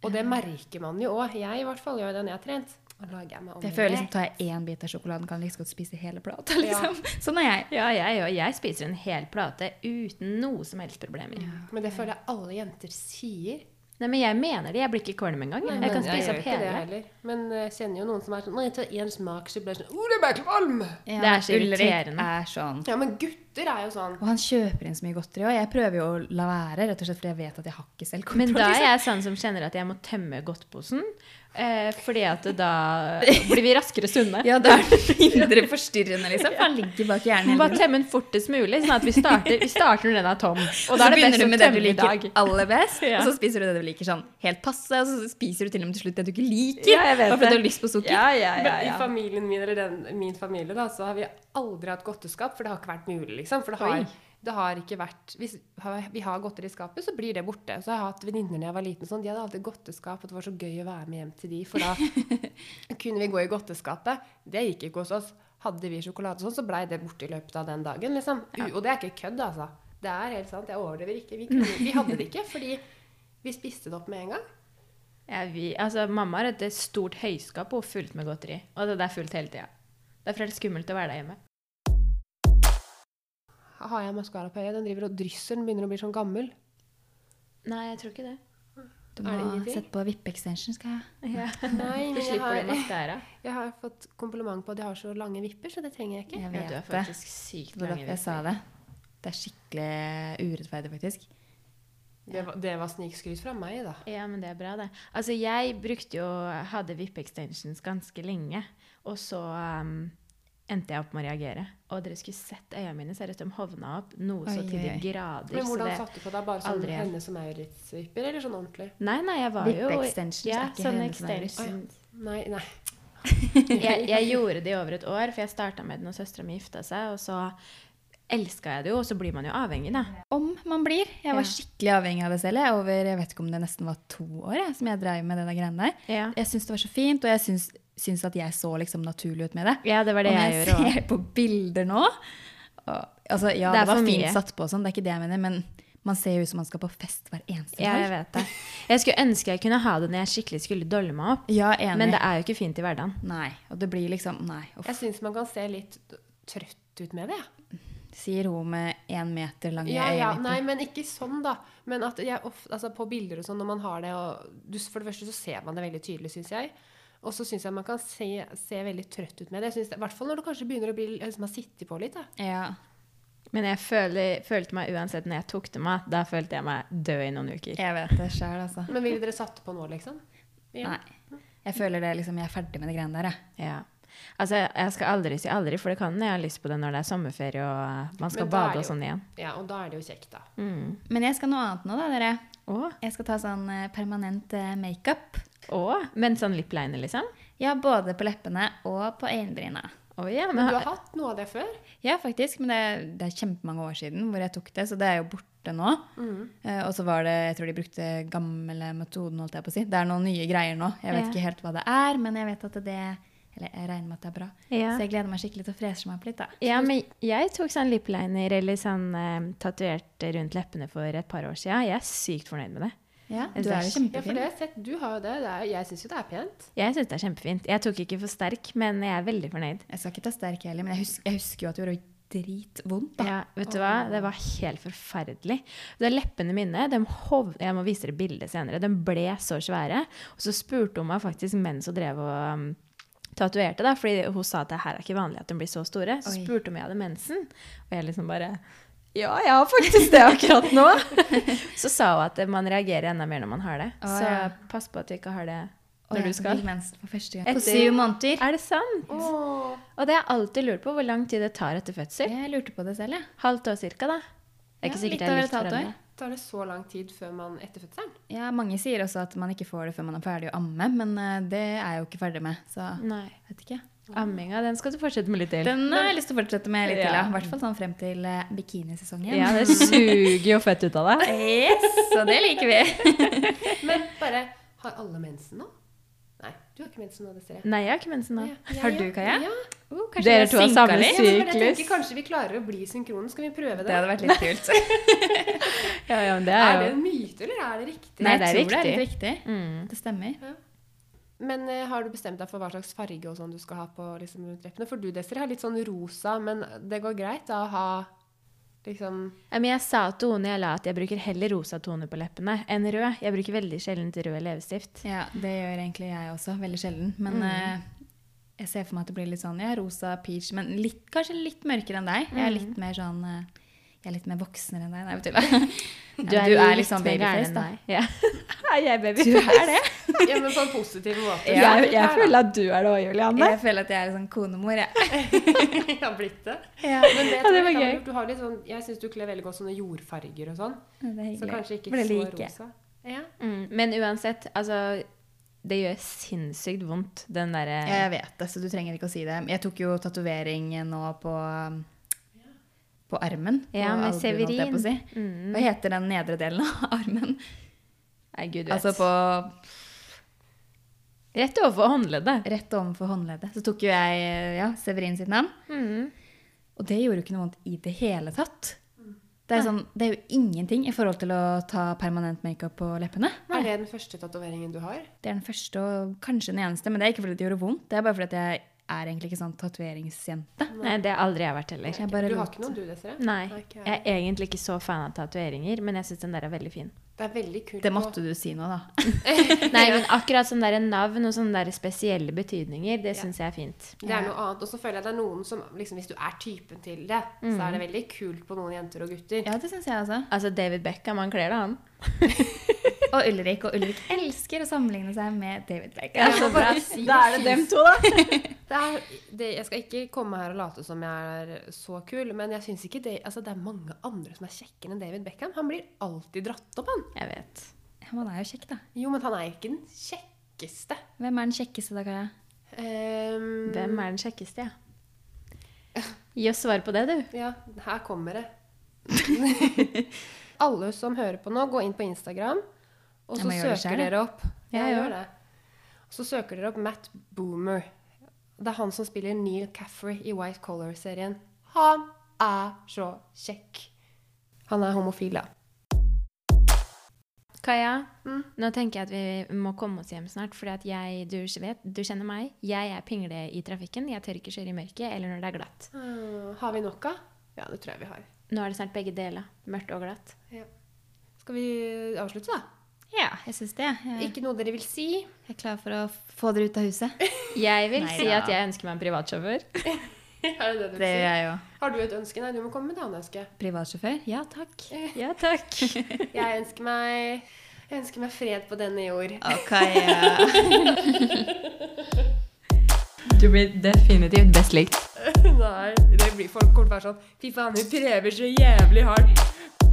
[SPEAKER 3] Og det merker man jo òg. Jeg i hvert fall gjør det når jeg har trent. Og lager jeg meg
[SPEAKER 2] Jeg føler liksom,
[SPEAKER 3] omelett.
[SPEAKER 2] Tar jeg én bit av sjokoladen, kan jeg like så godt spise hele plata. liksom. Sånn er jeg.
[SPEAKER 1] Ja, jeg òg. Jeg spiser en hel plate uten noe som helst problemer.
[SPEAKER 3] Men det føler jeg alle jenter sier.
[SPEAKER 1] Nei, men jeg mener det. Jeg blir ikke kvalm engang. Jeg. jeg kan
[SPEAKER 3] jeg
[SPEAKER 1] spise
[SPEAKER 3] gjør
[SPEAKER 1] opp
[SPEAKER 3] ikke det
[SPEAKER 1] hele.
[SPEAKER 3] heller. Men eh, jeg kjenner jo noen som er sånn Når jeg tar én smak, så blir jeg sånn Å, det ble kvalm!
[SPEAKER 2] Ja,
[SPEAKER 1] Det er så
[SPEAKER 2] Ulrik
[SPEAKER 1] irriterende.
[SPEAKER 2] Er sånn.
[SPEAKER 3] Ja, men gutter er jo sånn.
[SPEAKER 2] Og han kjøper inn så mye godteri òg. Jeg prøver jo å la være, rett og slett fordi jeg vet at jeg har ikke selv kontroll.
[SPEAKER 1] Men da
[SPEAKER 2] liksom.
[SPEAKER 1] er jeg sånn som kjenner at jeg må tømme godtposen. Eh, fordi at da blir vi raskere sunne.
[SPEAKER 2] Ja, da er det mindre forstyrrende, liksom. For han ligger bak hjernen.
[SPEAKER 1] Må
[SPEAKER 2] hele
[SPEAKER 1] Bare temme den fortest mulig, sånn at vi starter, vi starter når den er tom. Og da
[SPEAKER 2] Og så
[SPEAKER 1] er det
[SPEAKER 2] begynner
[SPEAKER 1] best
[SPEAKER 2] du
[SPEAKER 1] å
[SPEAKER 2] med det du
[SPEAKER 1] tømme i dag.
[SPEAKER 2] liker aller best,
[SPEAKER 1] Ja.
[SPEAKER 2] og så spiser du det du liker sånn helt passe, og så spiser du til og med til slutt det du ikke liker.
[SPEAKER 1] Ja, jeg vet
[SPEAKER 2] bare fordi
[SPEAKER 1] det.
[SPEAKER 2] du har lyst på sukker.
[SPEAKER 1] Ja, ja, ja,
[SPEAKER 3] Men I
[SPEAKER 1] ja.
[SPEAKER 3] familien min, eller den, min familie, da, så har vi aldri hatt godteskap, for det har ikke vært mulig, liksom. For det
[SPEAKER 1] Oi.
[SPEAKER 3] har, det har ikke vært Hvis har- vi har godteri i skapet, så blir det borte. Så har jeg hatt venninner da jeg var liten, sånn, de hadde alltid godteskap, og det var så gøy å være med hjem til de, for da kunne vi gå i godteskapet. Det gikk ikke hos oss. Hadde vi sjokolade og sånn, så blei det borte i løpet av den dagen, liksom. U- Og det er ikke kødd, altså. Det er helt sant. Jeg overdriver ikke. Vi, kunne, vi hadde det ikke, fordi vi spiste det opp med en gang.
[SPEAKER 1] Ja, vi, altså, mamma har et stort høyskap og fullt med godteri. Og det det er fullt hele tida. Derfor er det skummelt å være der hjemme.
[SPEAKER 3] Har jeg maskara på øyet? Den driver og drysser, den begynner å bli sånn gammel.
[SPEAKER 1] Nei, jeg tror ikke det.
[SPEAKER 2] Du
[SPEAKER 3] Er det
[SPEAKER 2] må
[SPEAKER 3] Ah, ingenting?
[SPEAKER 2] sette på vippe-extension, skal jeg.
[SPEAKER 1] Ja. Du
[SPEAKER 3] Nei, men jeg
[SPEAKER 1] slipper den
[SPEAKER 3] har,
[SPEAKER 1] mascara.
[SPEAKER 3] jeg har fått kompliment på at jeg har så lange vipper, så det trenger jeg ikke.
[SPEAKER 2] Jeg
[SPEAKER 1] Ja,
[SPEAKER 2] vet
[SPEAKER 1] du er
[SPEAKER 2] det.
[SPEAKER 1] faktisk sykt
[SPEAKER 2] Det var
[SPEAKER 1] lang.
[SPEAKER 2] derfor jeg sa det. Det er skikkelig urettferdig, faktisk.
[SPEAKER 3] Det var, det var snikskryt fra meg, da.
[SPEAKER 1] Ja, men det er bra, det. Altså, jeg brukte jo Hadde vippe-extensions ganske lenge. Og så um, endte jeg opp med å reagere. Og dere skulle sett øynene mine. Seriøst, de hovna opp noe så
[SPEAKER 2] Oi,
[SPEAKER 1] til de
[SPEAKER 2] oi, oi.
[SPEAKER 1] grader.
[SPEAKER 3] Men
[SPEAKER 1] så
[SPEAKER 3] hvordan
[SPEAKER 1] det-
[SPEAKER 3] satt du på deg? Bare sånn
[SPEAKER 1] aldri.
[SPEAKER 3] henne som Maurits-vipper, eller sånn ordentlig?
[SPEAKER 1] Nei, nei, jeg var jo
[SPEAKER 2] Vippe-extensions
[SPEAKER 1] ja,
[SPEAKER 2] er ikke
[SPEAKER 1] sånn
[SPEAKER 2] hennes verden.
[SPEAKER 1] extensions.
[SPEAKER 3] Nei, nei.
[SPEAKER 1] Jeg, jeg gjorde det i over et år, for jeg starta med det når søstera mi gifta seg. Og så elska jeg det jo, og så blir man jo avhengig, da.
[SPEAKER 2] Om man blir. Jeg
[SPEAKER 1] Ja.
[SPEAKER 2] var skikkelig avhengig av det selv. Jeg, over, jeg vet ikke om det nesten var to år jeg, som jeg drev med det der greiene der.
[SPEAKER 1] Ja,
[SPEAKER 2] Jeg syns det var så fint, og jeg syns, syns at jeg så liksom naturlig ut med det.
[SPEAKER 1] ja det var det
[SPEAKER 2] og
[SPEAKER 1] jeg
[SPEAKER 2] når
[SPEAKER 1] gjorde òg.
[SPEAKER 2] ser på bilder nå og, altså, Ja,
[SPEAKER 1] Det
[SPEAKER 2] det,
[SPEAKER 1] er for
[SPEAKER 2] var
[SPEAKER 1] mye.
[SPEAKER 2] fint satt på og sånn, det er ikke det jeg mener, men Man ser jo ut som man skal på fest hver eneste
[SPEAKER 1] Ja, jeg
[SPEAKER 2] dag.
[SPEAKER 1] vet det. Jeg skulle ønske jeg kunne ha det når jeg skikkelig skulle dolle meg opp.
[SPEAKER 2] Ja, enig.
[SPEAKER 1] Men det er jo ikke fint i hverdagen.
[SPEAKER 2] Nei, og det blir liksom Nei. Uff,
[SPEAKER 3] Jeg syns man kan se litt trøtt ut med det. jeg.
[SPEAKER 2] sier hun med én meter lange
[SPEAKER 3] Ja, ja,
[SPEAKER 2] øyenvipper.
[SPEAKER 3] nei, men ikke sånn, da. Men at jeg ofte, altså på bilder og sånn, når man har det og du, For det første så ser man det veldig tydelig, syns jeg. Og så syns jeg man kan se, se veldig trøtt ut med det. Jeg synes det. I hvert fall når du kanskje begynner å bli, liksom, ha sittet på litt. Da.
[SPEAKER 2] Ja.
[SPEAKER 1] Men jeg føler, følte meg uansett når jeg tok det meg, da følte jeg meg død i noen uker.
[SPEAKER 2] Jeg vet det sjøl, altså.
[SPEAKER 3] Men ville dere satt på nå, liksom? Ja.
[SPEAKER 2] Nei. Jeg føler det liksom Jeg er ferdig med de greiene der, jeg.
[SPEAKER 1] Ja. Altså, jeg skal aldri si aldri, for det kan jeg har lyst på det når det er sommerferie og eh, man skal
[SPEAKER 3] Men da er
[SPEAKER 1] bade
[SPEAKER 3] det
[SPEAKER 1] og sånn igjen.
[SPEAKER 3] Ja, og da er det jo kjekt, da.
[SPEAKER 1] Mm.
[SPEAKER 2] Men jeg skal noe annet nå, da, dere.
[SPEAKER 1] Å,
[SPEAKER 2] Jeg skal ta sånn eh, permanent eh, makeup.
[SPEAKER 1] å, men sånn lip liner, liksom?
[SPEAKER 2] Ja, både på leppene og på øyenbryna.
[SPEAKER 1] Å ja, men
[SPEAKER 3] Men du
[SPEAKER 1] ha-
[SPEAKER 3] har hatt noe av det før?
[SPEAKER 2] Ja, faktisk, men det, er- det er kjempemange år siden hvor jeg tok det, så det er jo borte nå.
[SPEAKER 1] Mm.
[SPEAKER 2] Eh, og så var det, jeg tror de brukte gamle metoden, holdt jeg på å si. Det er noen nye greier nå. Jeg vet
[SPEAKER 1] Ja.
[SPEAKER 2] ikke helt hva det er, men jeg vet at det Eller jeg regner med at det er bra.
[SPEAKER 1] Ja.
[SPEAKER 2] Så jeg gleder meg skikkelig til å freshe meg opp litt, da.
[SPEAKER 1] Ja, men jeg tok sånn lip liner eller sånn eh, tatovert rundt leppene for et par år siden. Jeg er sykt fornøyd med det.
[SPEAKER 2] Ja,
[SPEAKER 1] Jeg
[SPEAKER 2] du er
[SPEAKER 1] synes
[SPEAKER 2] jo
[SPEAKER 3] Ja, for
[SPEAKER 2] kjempefin.
[SPEAKER 3] det har jeg sett. Du har jo det. det er, jeg syns jo det er pent.
[SPEAKER 1] Jeg syns det er kjempefint. Jeg tok ikke for sterk, men jeg er veldig fornøyd.
[SPEAKER 2] Jeg skal ikke ta sterk heller, men jeg husker, jeg husker jo at det gjorde dritvondt, da.
[SPEAKER 1] Ja, vet du hva? Det var helt forferdelig. Det er leppene mine de hov... Jeg må vise dere bildet senere. De ble så svære. Og så spurte hun meg faktisk mens hun drev og um, tatoverte, da, fordi hun sa at det her er ikke vanlig at de blir så store. Så
[SPEAKER 2] Oi.
[SPEAKER 1] spurte hun om jeg hadde mensen. Og jeg liksom bare Ja, jeg har faktisk det akkurat nå. så sa hun at man reagerer enda mer når man har det.
[SPEAKER 2] Å,
[SPEAKER 1] så
[SPEAKER 2] ja.
[SPEAKER 1] pass på at du ikke har det
[SPEAKER 2] Og
[SPEAKER 1] når
[SPEAKER 2] jeg
[SPEAKER 1] du skal.
[SPEAKER 2] fikk mensen for første gang. På
[SPEAKER 1] Etter-
[SPEAKER 2] syv måneder.
[SPEAKER 1] Er det sant?
[SPEAKER 3] Åh.
[SPEAKER 1] Og det har jeg alltid lurt på, hvor lang tid det tar etter fødsel.
[SPEAKER 2] Jeg lurte på det selv, jeg.
[SPEAKER 1] Halvt år cirka, da. Det er
[SPEAKER 2] Ja,
[SPEAKER 1] ikke sikkert
[SPEAKER 2] litt
[SPEAKER 1] det er
[SPEAKER 2] over
[SPEAKER 1] likt
[SPEAKER 2] et halvt
[SPEAKER 1] for
[SPEAKER 2] år.
[SPEAKER 1] alle.
[SPEAKER 3] Tar det så lang tid før man etter fødselen?
[SPEAKER 2] Ja, mange sier også at man ikke får det før man er ferdig å amme, men eh, det er jeg jo ikke ferdig med, så
[SPEAKER 1] Nei.
[SPEAKER 2] vet ikke.
[SPEAKER 1] Amminga, den skal du fortsette med litt til.
[SPEAKER 2] Den har jeg lyst til å fortsette med litt til, ja.
[SPEAKER 1] Ja.
[SPEAKER 2] I hvert fall sånn frem til eh, bikinisesongen.
[SPEAKER 1] Ja, det suger jo fett ut av deg.
[SPEAKER 2] Yes, og det liker vi.
[SPEAKER 3] Men bare Har alle mensen nå? Nei, du har ikke mensen nå, dessverre.
[SPEAKER 1] Nei, jeg har ikke mensen nå.
[SPEAKER 3] Ja, jeg-
[SPEAKER 2] Har du, Kaja?
[SPEAKER 3] Ja.
[SPEAKER 2] Oh, kanskje
[SPEAKER 1] Dere
[SPEAKER 2] det
[SPEAKER 1] to har
[SPEAKER 2] synka
[SPEAKER 1] samme
[SPEAKER 2] litt.
[SPEAKER 1] syn.
[SPEAKER 3] Ja, men jeg
[SPEAKER 1] Syklus.
[SPEAKER 3] tenker Kanskje vi klarer å bli synkrone. Skal vi prøve det?
[SPEAKER 2] Det hadde vært litt kult.
[SPEAKER 1] Ja, ja, men det
[SPEAKER 3] er
[SPEAKER 1] er
[SPEAKER 3] det
[SPEAKER 1] jo...
[SPEAKER 3] en myte, eller er det riktig?
[SPEAKER 1] Nei,
[SPEAKER 2] Jeg
[SPEAKER 1] det er
[SPEAKER 2] tror Det, er litt riktig.
[SPEAKER 1] Mm.
[SPEAKER 2] det stemmer.
[SPEAKER 3] Men eh, har du bestemt deg for hva slags farge og sånn du skal ha på liksom, rundt leppene? For du, Desiree, har litt sånn rosa, men det går greit da å ha liksom
[SPEAKER 1] Ja, Men jeg sa til One jeg la at jeg bruker heller rosa toner på leppene enn rød. Jeg bruker veldig sjelden rød leppestift.
[SPEAKER 2] Ja, det gjør egentlig jeg også, veldig sjelden. Men
[SPEAKER 1] Mm.
[SPEAKER 2] eh, jeg ser for meg at det blir litt sånn, ja, rosa, peach, men litt, kanskje litt mørkere enn deg. Jeg er
[SPEAKER 1] Mm.
[SPEAKER 2] litt mer sånn, eh, jeg er litt mer voksnere enn deg. Nei, jeg tuller. Ja, men
[SPEAKER 1] litt mer gæren enn meg. Ja. Er jeg babyface?
[SPEAKER 2] sånn Du er det.
[SPEAKER 3] Ja, men på en positiv måte.
[SPEAKER 2] Ja,
[SPEAKER 3] Så er det her, da.
[SPEAKER 1] at du er det òg, Julianne.
[SPEAKER 2] Jeg føler at jeg er en sånn konemor, jeg.
[SPEAKER 3] Jeg har blitt det.
[SPEAKER 2] Ja.
[SPEAKER 3] Men det,
[SPEAKER 1] Ja,
[SPEAKER 3] tror
[SPEAKER 1] det var
[SPEAKER 3] jeg kan være
[SPEAKER 1] gøy.
[SPEAKER 3] lurt. Du har litt sånn, jeg syns du kler veldig godt sånne jordfarger og sånn.
[SPEAKER 2] Ja, Det er
[SPEAKER 3] Så
[SPEAKER 2] hyggelig.
[SPEAKER 3] kanskje ikke
[SPEAKER 2] For det
[SPEAKER 3] så
[SPEAKER 2] liker jeg.
[SPEAKER 3] rosa. Ja.
[SPEAKER 1] Mm, men uansett, altså Det gjør sinnssykt vondt, den derre
[SPEAKER 2] Ja, jeg vet det, så du trenger ikke å si det. Jeg tok jo tatovering nå på, um, på armen.
[SPEAKER 1] Ja,
[SPEAKER 2] på
[SPEAKER 1] med
[SPEAKER 2] albuen, holdt jeg på å si.
[SPEAKER 1] Mm.
[SPEAKER 2] Hva heter den nedre delen av armen?
[SPEAKER 1] Nei, gud vet.
[SPEAKER 2] Altså på
[SPEAKER 1] Rett overfor håndleddet.
[SPEAKER 2] rett ovenfor håndleddet. Så tok jo jeg ja, Severin sitt navn.
[SPEAKER 1] Mm.
[SPEAKER 2] Og det gjorde jo ikke noe vondt i det hele tatt. Det er, sånn, det er jo ingenting i forhold til å ta permanent makeup på leppene.
[SPEAKER 3] Er det den første tatoveringen du har?
[SPEAKER 2] Det er den første og kanskje den eneste, men det er ikke fordi det gjorde vondt. Det er bare fordi at jeg er egentlig ikke sånn tatoveringsjente.
[SPEAKER 1] Nei, det har aldri jeg vært heller.
[SPEAKER 2] Jeg bare
[SPEAKER 3] Du har
[SPEAKER 2] lot-
[SPEAKER 3] ikke noen, du, Desiree?
[SPEAKER 1] Nei.
[SPEAKER 3] ikke
[SPEAKER 1] Jeg er egentlig ikke så fan av tatoveringer, men jeg syns den der er veldig fin.
[SPEAKER 3] Det er veldig kult.
[SPEAKER 2] Det
[SPEAKER 3] å-
[SPEAKER 2] måtte du si nå, da.
[SPEAKER 1] Nei, men akkurat sånne der navn og sånne der spesielle betydninger, det syns jeg er fint.
[SPEAKER 3] Det er noe annet. Og så føler jeg det er noen som liksom, Hvis du er typen til det, så er det
[SPEAKER 1] Mm.
[SPEAKER 3] veldig kult på noen jenter og gutter.
[SPEAKER 2] Ja, det syns jeg også.
[SPEAKER 1] Altså, David Beckham, han kler det, han.
[SPEAKER 2] Og Ulrik. Og Ulrik elsker å sammenligne seg med David
[SPEAKER 3] Jeg
[SPEAKER 2] Beckham.
[SPEAKER 3] må bare
[SPEAKER 1] to,
[SPEAKER 3] si-
[SPEAKER 1] da.
[SPEAKER 3] Det er, det, jeg skal ikke komme her og late som jeg er så kul, men jeg syns ikke det altså, Det er mange andre som er kjekkere enn David Beckham. Han blir alltid dratt opp, han.
[SPEAKER 1] Jeg vet.
[SPEAKER 2] Han er jo kjekk, da.
[SPEAKER 3] Jo, men han er ikke den kjekkeste.
[SPEAKER 2] Hvem er den kjekkeste, da, Kaja?
[SPEAKER 3] Ehm,
[SPEAKER 1] Hvem er den kjekkeste, ja? Gi oss svar på det, du.
[SPEAKER 3] Ja, her kommer det. Alle som hører på nå, gå inn på Instagram, og
[SPEAKER 2] Jeg
[SPEAKER 3] så
[SPEAKER 2] må gjøre det
[SPEAKER 3] søker
[SPEAKER 2] selv, jeg.
[SPEAKER 3] dere opp.
[SPEAKER 1] Ja,
[SPEAKER 3] Jeg
[SPEAKER 1] ja.
[SPEAKER 3] gjør det. Så søker dere opp Matt Boomer. Det er han som spiller Neil Caffrey i White Collar-serien. Han er så kjekk. Han er homofil, da.
[SPEAKER 1] Kaja, nå tenker jeg at vi må komme oss hjem snart. For jeg, du, vet, du kjenner meg. Jeg er pingle i trafikken. Jeg tør ikke kjøre i mørket eller når det er glatt.
[SPEAKER 3] Ah, Har vi nok av? Ja, det tror jeg vi har.
[SPEAKER 1] Nå er det snart begge deler. Mørkt og glatt.
[SPEAKER 3] Ja. Skal vi avslutte, da?
[SPEAKER 2] Ja, jeg syns det. Jeg
[SPEAKER 3] Ikke noe dere vil si?
[SPEAKER 2] jeg er klar for å få dere ut av huset.
[SPEAKER 1] Jeg vil
[SPEAKER 2] Nei
[SPEAKER 1] si
[SPEAKER 2] da.
[SPEAKER 1] at jeg ønsker meg en privatsjåfør.
[SPEAKER 3] Er det det du vil si?
[SPEAKER 2] jeg òg.
[SPEAKER 3] Har du et ønske? Nei, du må komme med et annet ønske.
[SPEAKER 2] Privatsjåfør? Ja takk.
[SPEAKER 1] Ja, takk.
[SPEAKER 3] Jeg ønsker meg, jeg ønsker meg fred på denne jord.
[SPEAKER 2] Ok. du blir definitivt best likt.
[SPEAKER 3] Nei, det blir folk kommer til å være sånn Fy faen, hun prøver så jævlig hardt.